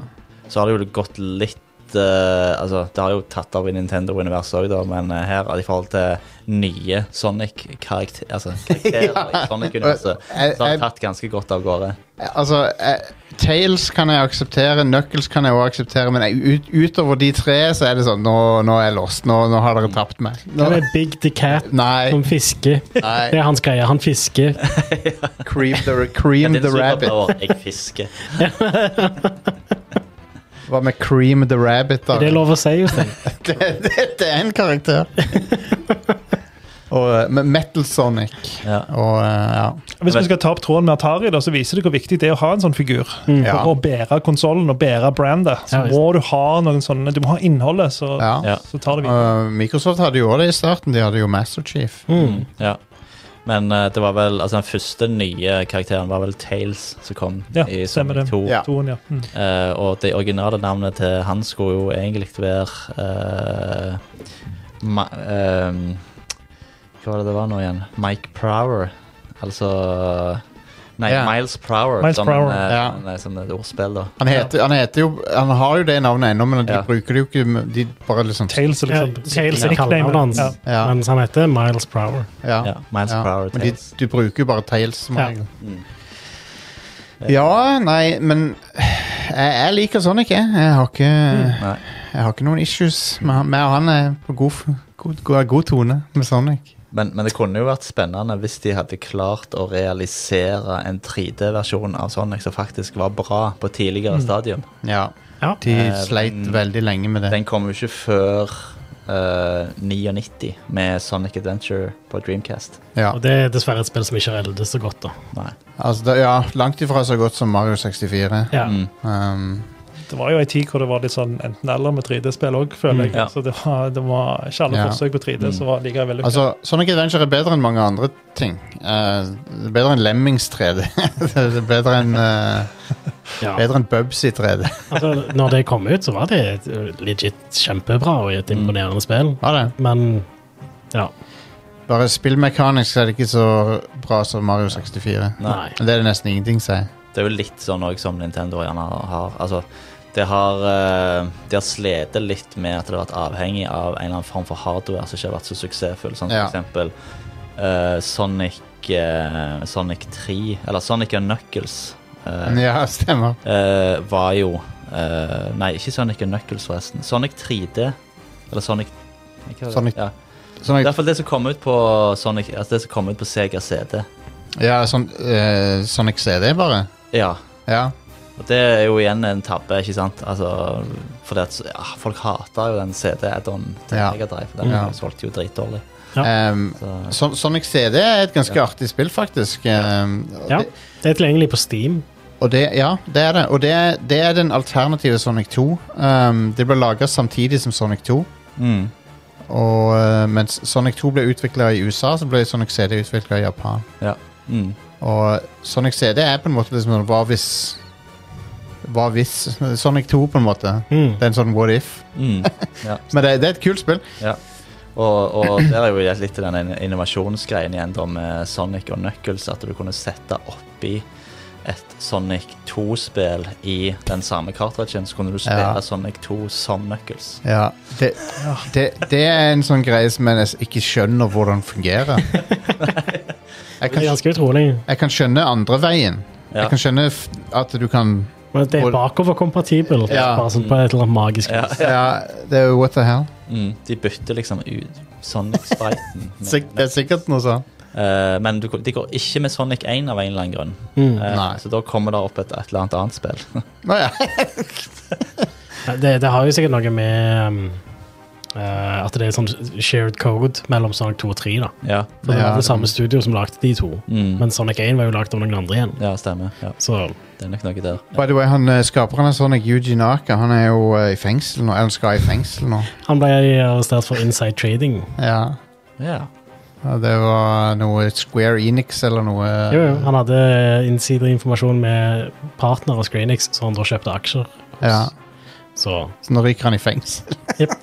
Så har det jo gått litt eh, altså, Det har jo tatt av i Nintendo-universet òg, men eh, her i forhold til nye Sonic-karakter, altså, karakterer i Sonic-universet,
Jeg,
så har det
jeg,
tatt ganske godt av gårde.
eh, altså, jeg, Tails kan jeg akseptere, Knuckles kan jeg også akseptere, men jeg, ut, utover de tre så er det sånn Nå, nå er jeg lost. Nå, nå har dere tapt meg.
Det
Nå,
er Big the Cat
nei,
som fisker. Det
nei.
er hans greie. Han fisker.
Cream the,
Men
cream
det er
the
en
Rabbit.
superpower. Jeg fisker.
Hva med Cream the Rabbit, da?
Er det lov å si, Jostein?
det, det, det er en karakter. og eh, med Metal Sonic
Ja.
og eh, ja.
Hvis vi skal ta opp tråden med Atari, da, så viser det hvor viktig det er å ha en sånn figur.
Mm.
Ja.
For å bære konsollen og bære brandet, så
Ja, visst.
må du ha noen sånne, du må ha innholdet, så,
ja.
Ja.
så tar det videre.
Og Microsoft hadde jo også det i starten. De hadde jo Master Chief.
Mm.
Ja. Men eh, det var vel, altså den første nye karakteren var vel Tales som kom
Ja,
i
stemmer
Sonic
det.
2.
Ja.
Toen, ja. Mm.
Eh, og det originale navnet til han skulle jo egentlig være eh, Ma ehm, Hva var det det var nå igjen? Mike Prower. Altså Nei,
Ja.
Miles Prower,
Miles
som,
Prower.
eh,
Ja.
nei, som et ordspill, da.
Han, heter, han, heter jo, han har jo det navnet ennå, men de
Ja.
bruker det jo ikke De bare liksom
Tales,
Ja,
liksom.
Tails er
Ja.
kallenavnet hans,
Ja.
Ja.
mens han heter Miles Prower.
Ja.
Ja, Miles
Ja.
Prower
Men de,
Tales.
du bruker jo bare Tails. Som
Ja.
regel.
Mm.
ja, nei, men jeg, jeg liker Sonic, jeg. Jeg har ikke,
Nei.
jeg har ikke noen issues med han. Meg og han er på god, f- god, god, god tone med Sonic.
Men, men det kunne jo vært spennende hvis de hadde klart å realisere en 3D-versjon av Sonic som faktisk var bra på tidligere stadium.
Ja.
Ja.
De
Eh,
sleit
den-
veldig lenge med det.
Den kom jo ikke før eh, 99 med Sonic Adventure på Dreamcast.
Ja.
Og det er dessverre et spill som ikke har eldes så godt, da.
Nei.
Altså, det, ja, langt ifra så godt som Mario 64.
Ja.
Mm.
Um,
Det var jo ei tid hvor det var litt sånn enten-eller med 3D-spill òg, føler jeg.
Mm, ja.
Så det var, det var ikke alle
Ja.
forsøk på 3D som var likevel vellykka.
altså, Sonic Adventure er bedre enn mange andre ting. Eh, det er bedre enn Lemmings 3D. det er bedre enn eh,
Ja.
Bedre enn Bubsy 3D.
Altså, når det kom ut, så var det et legit kjempebra og et
Mm.
imponerende spill.
Ja, det.
Men ja,
Bare spillmekanisk er det ikke så bra som Mario 64.
Nei.
nei.
Men det er det nesten ingenting, sier jeg.
Det er jo litt sånn også som Nintendo gjerne har. Altså, det har, eh, de har slitt litt med at det har vært avhengig av en eller annen form for hardware som ikke har vært så suksessfull, sånn som
Ja.
for eksempel eh, Sonic, eh, Sonic 3, eller Sonic and Knuckles. eh,
Ja, stemmer.
eh, var jo eh, Nei, ikke Sonic and Knuckles, forresten. Sonic 3D. Eller Sonic Hva var det?
Sonic-
Ja. I
Sonic,
hvert fall det som kom ut på Sonic Altså det som kom ut på Sega CD.
ja, sånn, eh, Sonic CD, bare.
Ja.
Ja.
Og det er jo igjen en tabbe, ikke sant? Altså, fordi at ja, folk hater jo den CD-add-on til
Ja.
Mega Drive. Den
Ja.
solgte jo dritdårlig.
Um,
Så,
Son- Sonic CD er et ganske
Ja.
artig spill, faktisk. Um, og
Ja.
det-
Det er tilgjengelig på Steam.
Og det, ja, det er det. Og det, er- det er den alternative Sonic 2. Um, det ble laga samtidig som Sonic 2.
Mm.
Og eh, mens Sonic 2 ble utvikla i USA, så ble Sonic CD utvikla i Japan.
Mm.
Og Sonic CD er på en måte liksom sånn Hva hvis Hva hvis Sonic 2, på en måte.
Mm.
Det er en sånn what if.
Mm.
Men det, det er et kult spill.
Og, og der er jo litt- litt den in- innovasjonsgreien igjen da med Sonic og Knuckles, at du kunne sette oppi et Sonic 2-spill i den samme cartridgen, så kunne du spille
Ja.
Sonic 2 som Knuckles.
Ja, det, det, det er en sånn greie som jeg nesten ikke skjønner hvordan fungerer. Jeg
Det er
kan,
ganske utrolig.
jeg kan skjønne andre veien.
Ja.
Jeg kan skjønne f- at du kan
Men det er
Hvor-
bakoverkompatibelt.
Ja.
Bare sånn på et eller annet magisk
Ja.
vis.
Ja, det er jo what the hell.
Mm. De bytter liksom ut Sonic-spriten. med
Sik- Det er sikkert noe sånt.
Eh, men du, de går ikke med Sonic 1 av en eller annen grunn.
Mm.
Eh,
Nei.
så da kommer det opp et, et eller annet annet spill.
Å ja.
Det, det har jo sikkert noe med um, eh, at det er sånn shared code mellom Sonic 2 og 3. da.
ja.
For det
Ja.
var det samme studio som lagde de to.
Mm.
Men Sonic 1 var jo lagd av noen andre igjen.
ja, stemmer. Ja.
Så
Det er nok noe der.
By the way, han eh, skaperen av Sonic, Yuji Naka, han er jo eh, i fengsel nå. Eller skal i fengsel nå.
han ble arrestert for inside trading.
Ja.
Ja.
Ja, Det var noe Square Enix eller noe
Jo, jo, han hadde innsiderinformasjon med partner av Screenix, så han da kjøpte aksjer.
Ja,
Så
så nå ryker han i fengsel.
Jep.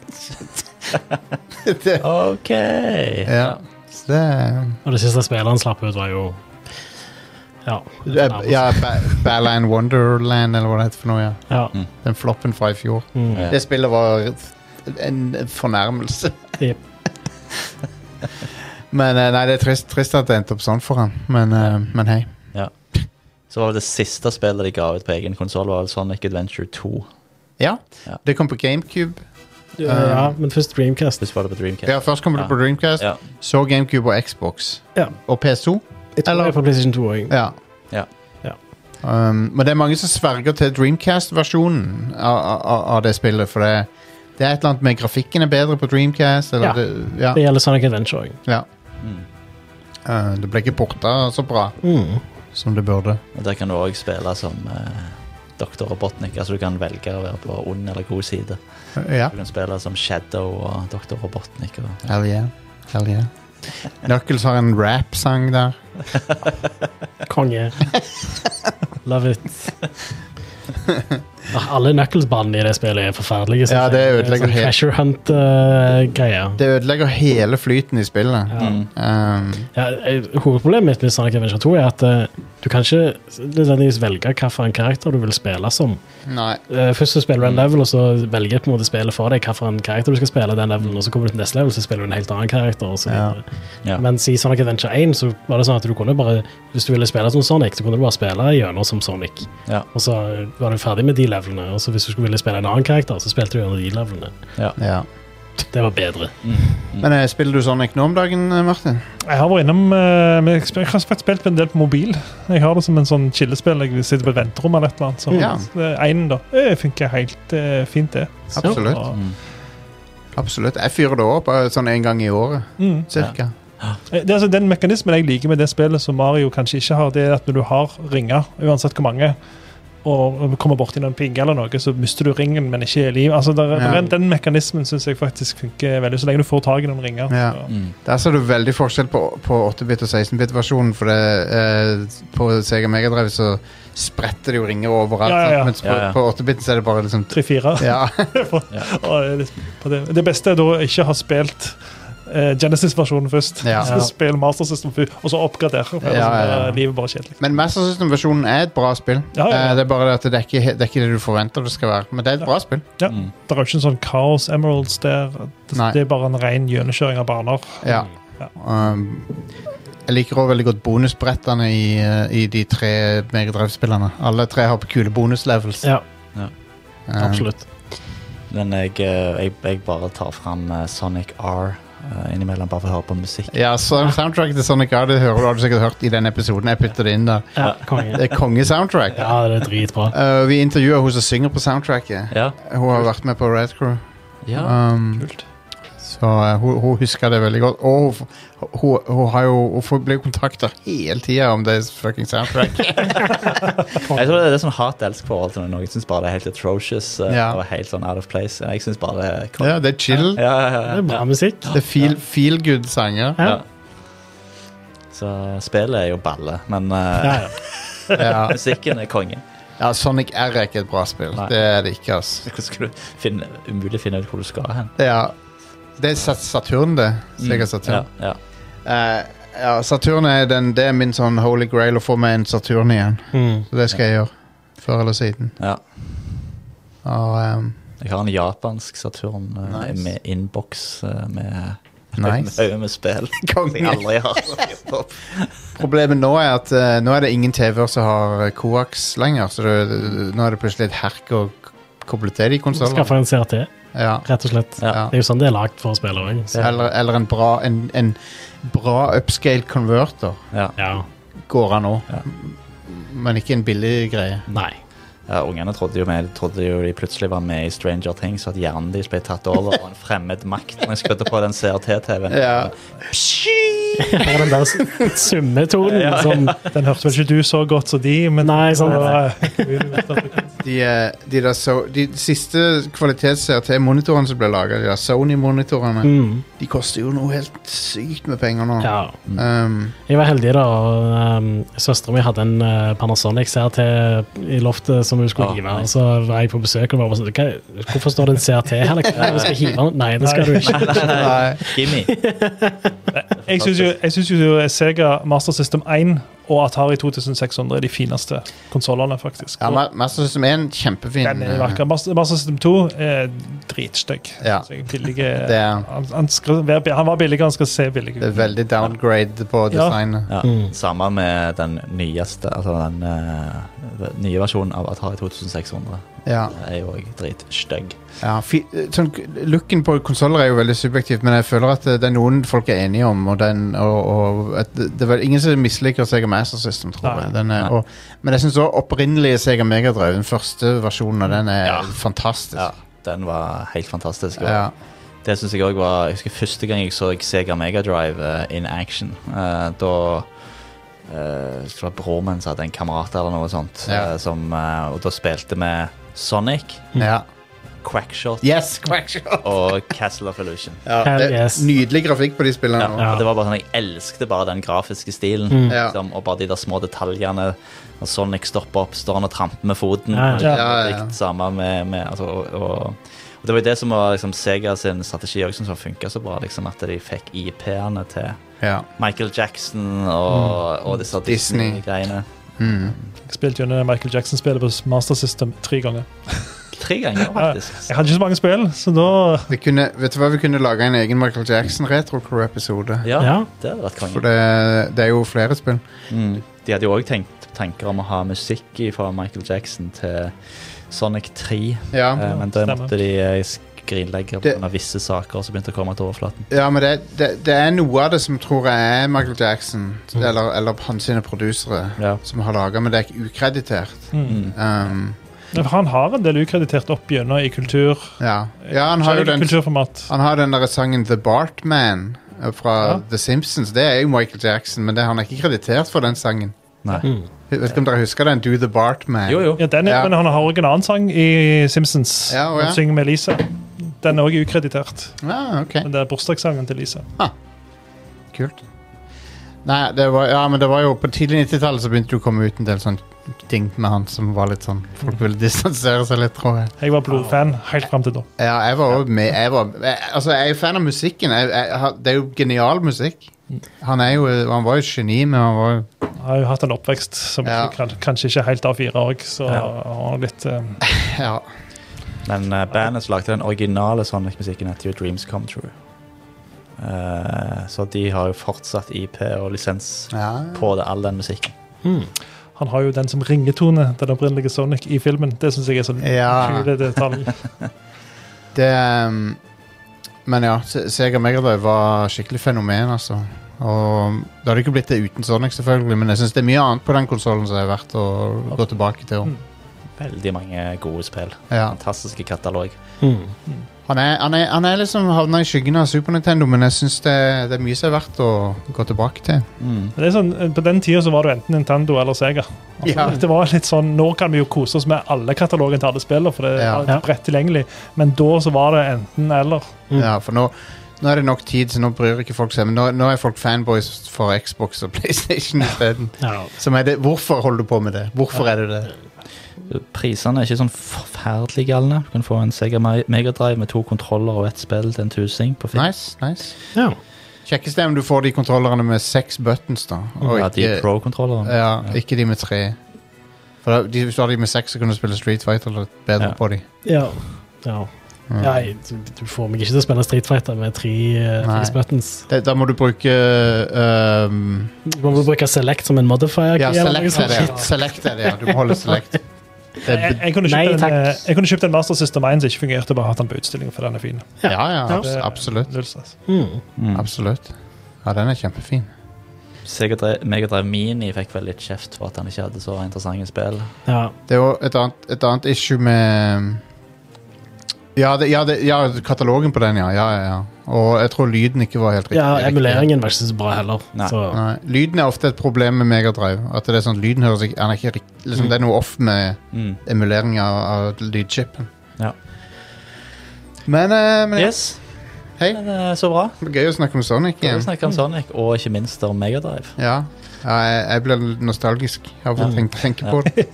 det,
OK.
ja. Så det er-
Og det siste spillet han slapp ut, var jo Ja.
det er- Ja, ba Balland Wonderland eller hva det heter for noe, ja.
ja.
Den floppen fra i fjor.
Mm.
Ja.
Det spillet var en fornærmelse.
Jep.
Men eh, nei, det er trist, trist at det endte opp sånn for han. Men, eh, men hei.
Så var det det siste spillet de ga ut på egen konsoll, var Sonic Adventure 2.
Ja,
Ja.
det kom på GameCube.
ja, men først Dreamcast.
Hvis var det på Dreamcast.
Ja, Først kom det på Dreamcast,
Ja.
så GameCube og Xbox.
Ja.
Og PS2.
Jeg tror
Eller-
det er på PlayStation 2 òg.
Ja.
Ja.
Ja.
Um, men det er mange som sverger til Dreamcast-versjonen av, av, av det spillet, for det, det er et eller annet med grafikken er bedre på Dreamcast. Eller
Ja.
Det, ja,
Det gjelder Sonic Adventure òg.
ja.
Mm.
Uh, det ble ikke porta så bra
Mm.
som det burde.
Og der kan du òg spille som eh, Dr. Robotnik. Altså du kan velge å være på ond eller god side.
Uh, ja.
Du kan spille som Shadow og Dr. Robotnik. Og,
Hell yeah. Hell yeah. Knuckles har en rap-sang der.
Konge. Love it. Ah, Alle Knuckles-banene i det spillet er forferdelige.
Ja,
synes
det
jeg.
ødelegger
sånn
helt-
Treasure Hunt-greier.
Det ødelegger hele flyten i spillet.
ja.
Mm.
Um,
ja, eh, hovedproblemet mitt med Sonic Adventure 2 er at eh, du kan ikke nødvendigvis velge hvilken karakter du vil spille som.
nei.
Eh, først så spiller du en
Mm.
level, og så velger på en måte spillet for deg hvilken karakter du skal spille. den levelen, Og så kommer du til neste level, så spiller du en helt annen karakter. Og så
Ja.
videre.
Ja.
Mens i Sonic Adventure 1 så var det sånn at du kunne bare, hvis du ville spille som Sonic, så kunne du bare spille gjennom som Sonic.
Ja.
Og så eh, var du ferdig med de levelene, og så hvis du skulle ville spille en annen karakter, så spilte du gjennom de levelene.
Ja.
Det var bedre.
Mm.
Men eh, spiller du Sonic nå om dagen, eh, Martin?
Jeg har vært innom eh, men Jeg jeg har faktisk spilt en del på mobil. Jeg har det som en sånn chillespill. Jeg sitter på et venterom eller et eller annet. Så
Ja.
det er en da. Det funker helt eh, fint, det.
Så-
Absolutt.
Og-
Mm.
Absolutt. Jeg fyrer det opp eh, sånn en gang i året,
Mm.
cirka.
Eh, Det er altså Den mekanismen jeg liker med det spillet som Mario kanskje ikke har, det er at når du har ringer, uansett hvor mange, og kommer borti noen pinge eller noe, så mister du ringen, men ikke liv. Altså, der, er-
Ja.
der er- Den mekanismen syns jeg faktisk funker veldig, så lenge du får tak i noen ringer.
Ja.
så-
Mm.
Der ser du veldig forskjell på, på 8-bit og 16-bit-versjonen. For det, eh, på Sega Megadrive så spretter det jo ringer overalt.
Ja, ja, ja.
sant? Mens på,
Ja, ja.
på 8-bit så er det bare liksom
Tre-fire.
ja.
Og, eh, litt på Det. det beste er da ikke ha spilt eh, Genesis-versjonen først.
Ja.
Så Spill Master System først, og så oppgradere.
Ja, ja, ja.
Så er Livet bare kjedelig.
Men Master System-versjonen er et bra spill.
Ja, ja, ja.
Eh, Det er bare det at det er ikke det er ikke det du forventer det skal være. Men det er et bra spill.
Ja.
Mm.
Det er jo ikke en sånn Kaos Emeralds der. Det,
Nei.
det er bare en ren gjennomkjøring av baner.
Ja. Um, jeg liker også veldig godt bonusbrettene i, eh, i de tre Megadrive-spillerne. Alle tre har kule bonuslevels.
Ja,
Um,
Mm, absolutt.
Men jeg, eh, jeg, jeg bare tar fram eh, Sonic R eh, innimellom, bare for å høre på musikk.
Ja, så soundtracket til Sonic R det hører du, har du sikkert hørt i den episoden. Jeg putter det inn der.
Ja, konge.
Det er kongesoundtrack.
Ja, det er dritbra.
Uh, vi intervjuer hun som synger på soundtracket.
Ja.
Hun har vært med på Red Crew.
ja.
Um,
Kult.
Så eh, hun, hun husker det veldig godt. Og hun, f- hun, hun, har jo, hun får- blir kontakta hele tida om det fucking soundtrack.
Jeg tror det er det som hat-elsk-forhold til noen. Jeg synes bare det er helt atrocious eh,
Ja.
og helt sånn out of place. Jeg synes bare det er
ja, det er chill.
Ja, ja, ja,
Det er bra musikk.
Det er feel, feel good-sanger.
ja.
Ja.
ja. Så eh, spillet er jo balle, men eh,
Ja, ja.
Ja.
musikken er konge.
ja, Sonic R er ikke et bra spill.
Nei.
Det er det ikke, ass.
Hvordan skal du finne, umulig finne ut hvor du skal hen?
Ja. Det er Sat- Saturn, det. Sega Saturn.
Mm. Ja, ja.
Eh, ja, Saturn er, den, det er min sånn holy grail å få meg en Saturn igjen.
Mm.
Så det skal jeg gjøre. Før eller siden.
ja.
Og, ehm,
Jeg har en japansk Saturn eh,
Nice.
med innboks eh, med
Nice.
med, med spill. Som jeg aldri har hørt om.
problemet nå er at eh, nå er det ingen TV-er som har eh, koaks lenger. Så det, nå er det plutselig et herk å k- koble til de konsollene.
Skaffe en CRT,
Ja,
rett og slett.
Ja.
ja.
Det er jo sånn det er lagd for å spille òg.
Eller, eller en bra en, en bra upscale converter
Ja.
Ja.
går an nå.
Ja.
Men ikke en billig greie.
Nei.
Ja, Ungene trodde jo, med, trodde jo de plutselig var med i Stranger Things, og at hjernen deres ble tatt over av en fremmed makt når jeg skrudde på den CRT-TV-en.
Ja.
Det er den der s- summetonen
Ja.
som
Den hørte vel ikke du så godt som de, men eh,
Nei, sånn
De, eh, de, der, so- de siste kvalitets-CRT-monitorene som ble laga, de der Sony-monitorene
mm.
De koster jo noe helt sykt med penger nå.
Ja.
Um,
Jeg var heldig, da. og, Um, Søstera mi hadde en eh, Panasonic CRT i loftet som hun skulle
Ah,
hive.
nei.
Og så var jeg på besøk og bare sånn «Hva- Hvorfor står det en CRT her? Liksom? Nei, vi skal hive den. Nei, det skal du ikke.
nei.
Gimme.
Jeg syns jo, jeg synes jo Sega Master System 1 og Atari 2600 er de fineste konsollene, faktisk.
Ja, Ma- Master System 1 er en kjempefin.
Den er
eh,
vakker. Master, Master System 2 er dritstygg.
Ja.
Så jeg er billig,
Det er,
han, han, skal være, bi- han var billig, han skal se billig ut.
det er veldig downgrade på
Ja.
designet.
Ja,
Mm.
samme med den nyeste, altså den eh, den nye versjonen av Atari 2600.
Ja.
Det er jo òg dritstygg.
Ja, fi, sånn, looken på konsoller er jo veldig subjektiv, men jeg føler at eh, det er noen folk er enige om. Og den, og, og, at det det er vel ingen som misliker Sega Master System, tror
Nei.
jeg. Den er,
Nei.
og, men jeg syns også opprinnelige Sega Megadrive, den første versjonen av den, er
Ja.
fantastisk.
Ja, den var helt fantastisk. og
Ja.
Det synes jeg også var Jeg husker første gang jeg så Sega Mega Drive eh, in action. eh, da eh, Jeg tror det var broren min som hadde en kamerat eller noe sånt,
Ja.
eh, som, eh, og da spilte vi Sonic,
ja.
Quackshot
Yes, Quackshot!
og Castle of Illusion.
Ja,
Hell
det,
yes.
Nydelig grafikk på de spillene.
Ja,
nå.
og det var bare sånn, Jeg elskte bare den grafiske stilen.
Ja.
Liksom, og bare de der små detaljene. Når Sonic stopper opp, står han og tramper med foten.
Ja.
Det er
Ja, ja, ja.
likt Samme med, med altså, og, og, og det var jo det som var liksom, Sega sin strategi også, som funka så bra. Liksom, at de fikk IP-ene til
Ja.
Michael Jackson og, og disse
Disney.
Disney-greiene.
Mm.
Jeg spilte gjennom Michael Jackson-spillet på Master System tre ganger.
Tre ganger, faktisk.
Jeg hadde ikke så mange spill, så da
Vi kunne, vet du hva, vi kunne lage en egen Michael Jackson retrocrew-episode.
Ja,
Ja.
det hadde vært
For
konge.
det, det er jo flere spill.
Mm. De hadde jo òg tanker om å ha musikk fra Michael Jackson til Sonic 3.
Ja,
Eh, men da
Stemmer.
måtte de eh, skrinlegge
Det-
pga. visse saker som begynte å komme til overflaten.
ja men det, det, det er noe av det som tror jeg er Michael Jackson,
Mm.
eller, eller hans sine produsere,
Ja.
som har laga, men det er ikke ukreditert.
mm.
Mm.
Um,
Men Han har en del ukreditert opp gjennom i kultur.
ja. ja, han har jo den,
kulturformat.
han har den der sangen The Bartman eh, fra
Ja.
The Simpsons. Det er jo Michael Jackson, men det, han er ikke kreditert for den sangen.
Nei.
Mm.
Jeg Vet ikke om dere husker den? Do the Bartman.
Jo, jo.
Ja, den er,
Ja.
Men han har også en annen sang i Simpsons.
Ja, å ja.
Han synger med Lisa. Den er også ukreditert.
Ah, ok.
Men det er bursdagssangen til Lisa.
Kult. Nei, det var, ja, men det var jo på tidlig 90-tallet så begynte det å komme ut en del sånn ting med han som var litt sånn Folk ville distansere seg litt, tror jeg.
Jeg var blodfan
Ah.
helt fram til da.
Ja, jeg var òg med. Jeg var, jeg, altså, jeg er jo fan av musikken. Jeg, jeg, har- det er jo genial musikk. Han, er jo, han var jo et geni, men han var jo
Jeg har jo hatt en oppvekst som
Ja.
kan, kanskje ikke er helt A4 òg, så
Ja.
har litt eh,
Ja.
Men eh, bandet som lagde den originale Sonic-musikken, heter jo Dreams Come True. Eh, så de har jo fortsatt IP og lisens
ja.
på det, all den musikken.
Mm.
Han har jo den som ringetone, den opprinnelige Sonic, i filmen. Det syns jeg er sånn
Ja.
kule detalj.
Det um, Men ja, Se- Sega Megadrive var skikkelig fenomen, altså. Og det hadde ikke blitt det uten Sonic, selvfølgelig, men jeg syns det er mye annet på den konsollen som er verdt å gå tilbake til.
Veldig mange gode spill.
Ja.
Fantastiske katalog.
Mm.
Han er, han, er, han er liksom havna i skyggen av Super Nintendo, men jeg syns det, det er mye som er verdt å gå tilbake til.
Mm.
Men Det er sånn, på den tida så var det jo enten Nintendo eller Sega. Altså,
Ja.
Det var litt sånn, Nå kan vi jo kose oss med alle katalogene til alle spillene, for det er
Ja.
alt bredt tilgjengelig. Men da så var det enten eller.
Mm.
Ja, for nå, nå er det nok tid, så nå bryr ikke folk seg. Men nå, nå er folk fanboys for Xbox og PlayStation isteden.
Ja.
Som er det- Hvorfor holder du på med det? Hvorfor er du det?
Prisene er ikke sånn forferdelig galne. Du kan få en Sega Me- Mega Drive med to kontroller og ett spill til en tusing på Finn.
Nice, nice.
ja.
Kjekkest er om du får de kontrollerne med seks buttons, da. Og
ja, de
ikke, Eh,
pro-kontrollerne.
ja, ikke de med tre. For da, de, Hvis du har de med seks, så kan du spille Street Fighter eller bedre
Ja.
på de.
ja. ja.
Mm.
Nei, du- du får meg ikke til å spille Street Fighter med tre eh,
Nei.
fix buttons.
Det, da må du bruke ehm,
Du må bruke Select som en modifier. liksom.
Ja,
eller noe
select er det.
sånt.
ja. Select er det, ja. Du må holde select. Det er
Jeg,
be-
jeg, kunne
Nei,
kjøpt en,
takk.
eh, jeg kunne kjøpt en Master System 1 som ikke fungerte, bare hatt den på utstilling, for den er fin.
ja, ja, abs
Det-
absolutt.
Null stress.
Mm.
Mm.
Absolutt. Ja, den er kjempefin.
Sega Dri- Mega Drive Mini fikk vel litt kjeft for at han ikke hadde så interessante spill.
Ja.
Det er jo et annet, et annet issue med ja, det, ja, det, ja, katalogen på den, ja. ja, ja, ja. Og jeg tror lyden ikke var helt riktig.
ja, emuleringen var ikke så bra heller.
Nei.
Så,
Nei, lyden er ofte et problem med Megadrive. At det er sånn, lyden høres ikke, han er ikke rikt- liksom,
Mm.
Det er noe off med
Mm.
emulering av, av lydchipen.
Ja.
Men, eh, men ja,
Yes.
Hei.
Men, eh, så bra.
det er gøy å snakke om Sonic
Vi
igjen.
snakker om Sonic, og ikke minst om Megadrive.
Ja, ja jeg, jeg ble nostalgisk av
Ja.
å tenke, tenke på det.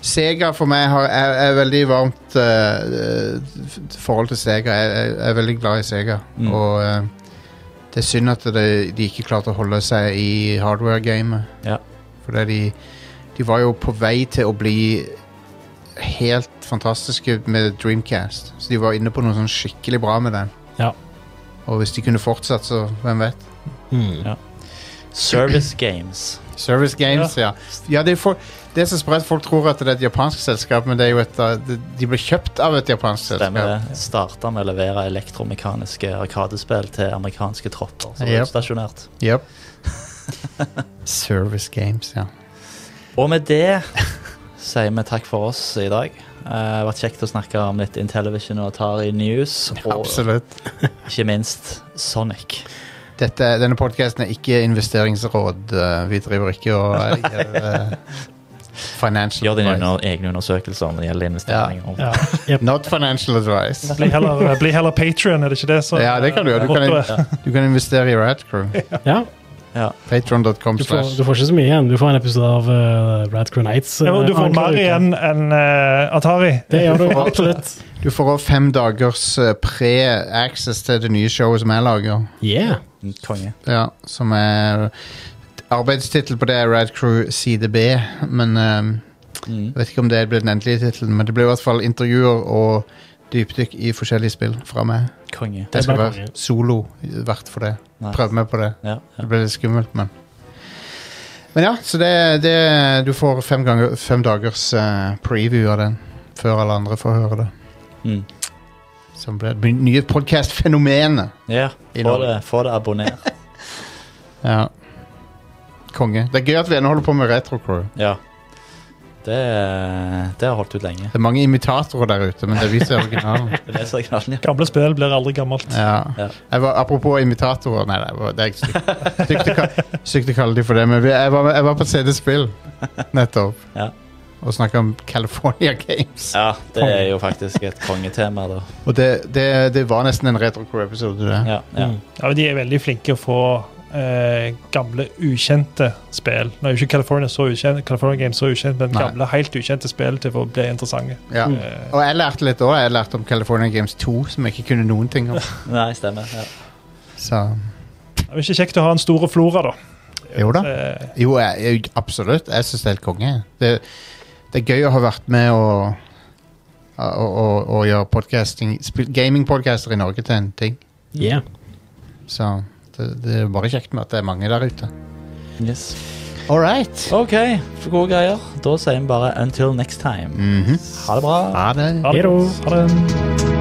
Sega for meg har, er, er veldig varmt eh, f- forhold til Sega. Jeg, jeg, jeg er veldig glad i Sega.
Mm.
Og eh, det er synd at det, de ikke klarte å holde seg i hardware-gamet.
Ja.
Fordi de, de var jo på vei til å bli helt fantastiske med Dreamcast. Så de var inne på noe sånn skikkelig bra med den.
Ja.
Og hvis de kunne fortsatt, så hvem vet?
mm.
Service Games.
Service Games, ja. ja. det, er for, det er så spredt folk tror at det er et japansk selskap, men det er jo et, uh, de, de ble kjøpt av et japansk
Stemmer
selskap.
det. Starta med å levere elektromekaniske arkadespill til amerikanske tropper. Så det
Yep.
er stasjonert.
Yep. Service Games, ja.
Og med det sier vi takk for oss i dag. Eh, Det har vært kjekt å snakke om litt Intellivision og Atari News, og
Absolutt.
ikke minst Sonic.
Dette, denne podkasten er ikke investeringsråd. uh, Vi driver ikke og uh, gjør uh, financial
Gjør dine
advice.
under, egne undersøkelser når det gjelder investeringer.
ja.
Not financial advice.
Bli heller, eh, bli heller Patreon, er det ikke det? Så,
Ja, det kan du gjøre. Du kan, du kan investere i Radcrew.
ja.
Ja.
Patron.com
Du, får,
slash
du får ikke så mye igjen. Du får en episode av uh, Radcrow Nights.
Ja, og du
eh,
får
annenhver
mer
uke.
igjen enn eh, Atari.
Det gjør du
får-
absolutt.
Du får også fem dagers uh, pre-access til det nye showet som jeg lager.
Yeah.
Konge.
Ja, som er Arbeidstittel på det er Rad Crew side B, men ehm,
Mm.
jeg vet ikke om det ble den endelige tittelen. Men det ble i hvert fall intervjuer og dypdykk i forskjellige spill fra meg.
Konge.
Det
Det skal
ble
være
konge.
solo vert for det.
Nice.
Prøv meg på det.
Ja, ja.
Det ble litt skummelt, men Men ja, så det, det Du får fem, ganger, fem dagers eh, preview av den før alle andre får høre det.
Mm.
Som ble det nye podkast-fenomenet.
ja.
I
Få
Norge.
det, få det abonner.
Ja. Konge. Det er gøy at vi ennå holder på med retro-crew.
Ja. Det, det har holdt ut lenge.
Det er mange imitatorer der ute, men det er vi som er originalen.
Det er det som er knallen, ja.
Gamle spill blir aldri gammelt.
Ja.
Ja.
Jeg var, apropos imitatorer Nei, det var- det er ikke stygt- stygt å ka- stygt å kalle de for det, men vi- jeg var, jeg var på CD Spill nettopp
Ja.
og snakka om California Games.
Ja, det er jo faktisk et kongetema, da.
Og det, det, det var nesten en retro-crew-episode, det.
Ja, ja.
Mm.
Ja, men de er veldig flinke å få eh, gamle, ukjente spill. Nå er jo ikke California, så ukjent, California Games så ukjent, men
Nei.
gamle, helt ukjente spill til å bli interessante.
Ja.
Eh,
Og jeg lærte litt òg. Jeg lærte om California Games 2, som jeg ikke kunne noen ting om.
Nei, stemmer. Ja.
Så
det er jo ikke kjekt å ha en stor flora, da.
jo da.
Eh,
Jo, jeg, jeg, absolutt. Jeg syns det er helt konge. Det, det er gøy å ha vært med og å, å, å gjøre podcasting sp- gaming-podcaster i Norge til en ting.
Yeah.
Så det, det er bare kjekt med at det er mange der ute.
Yes.
All right.
OK, for gode greier. Da sier vi bare until next time.
Mhm.
Ha det bra.
Ha det.
ha det
Hei da.
godt. Ha det.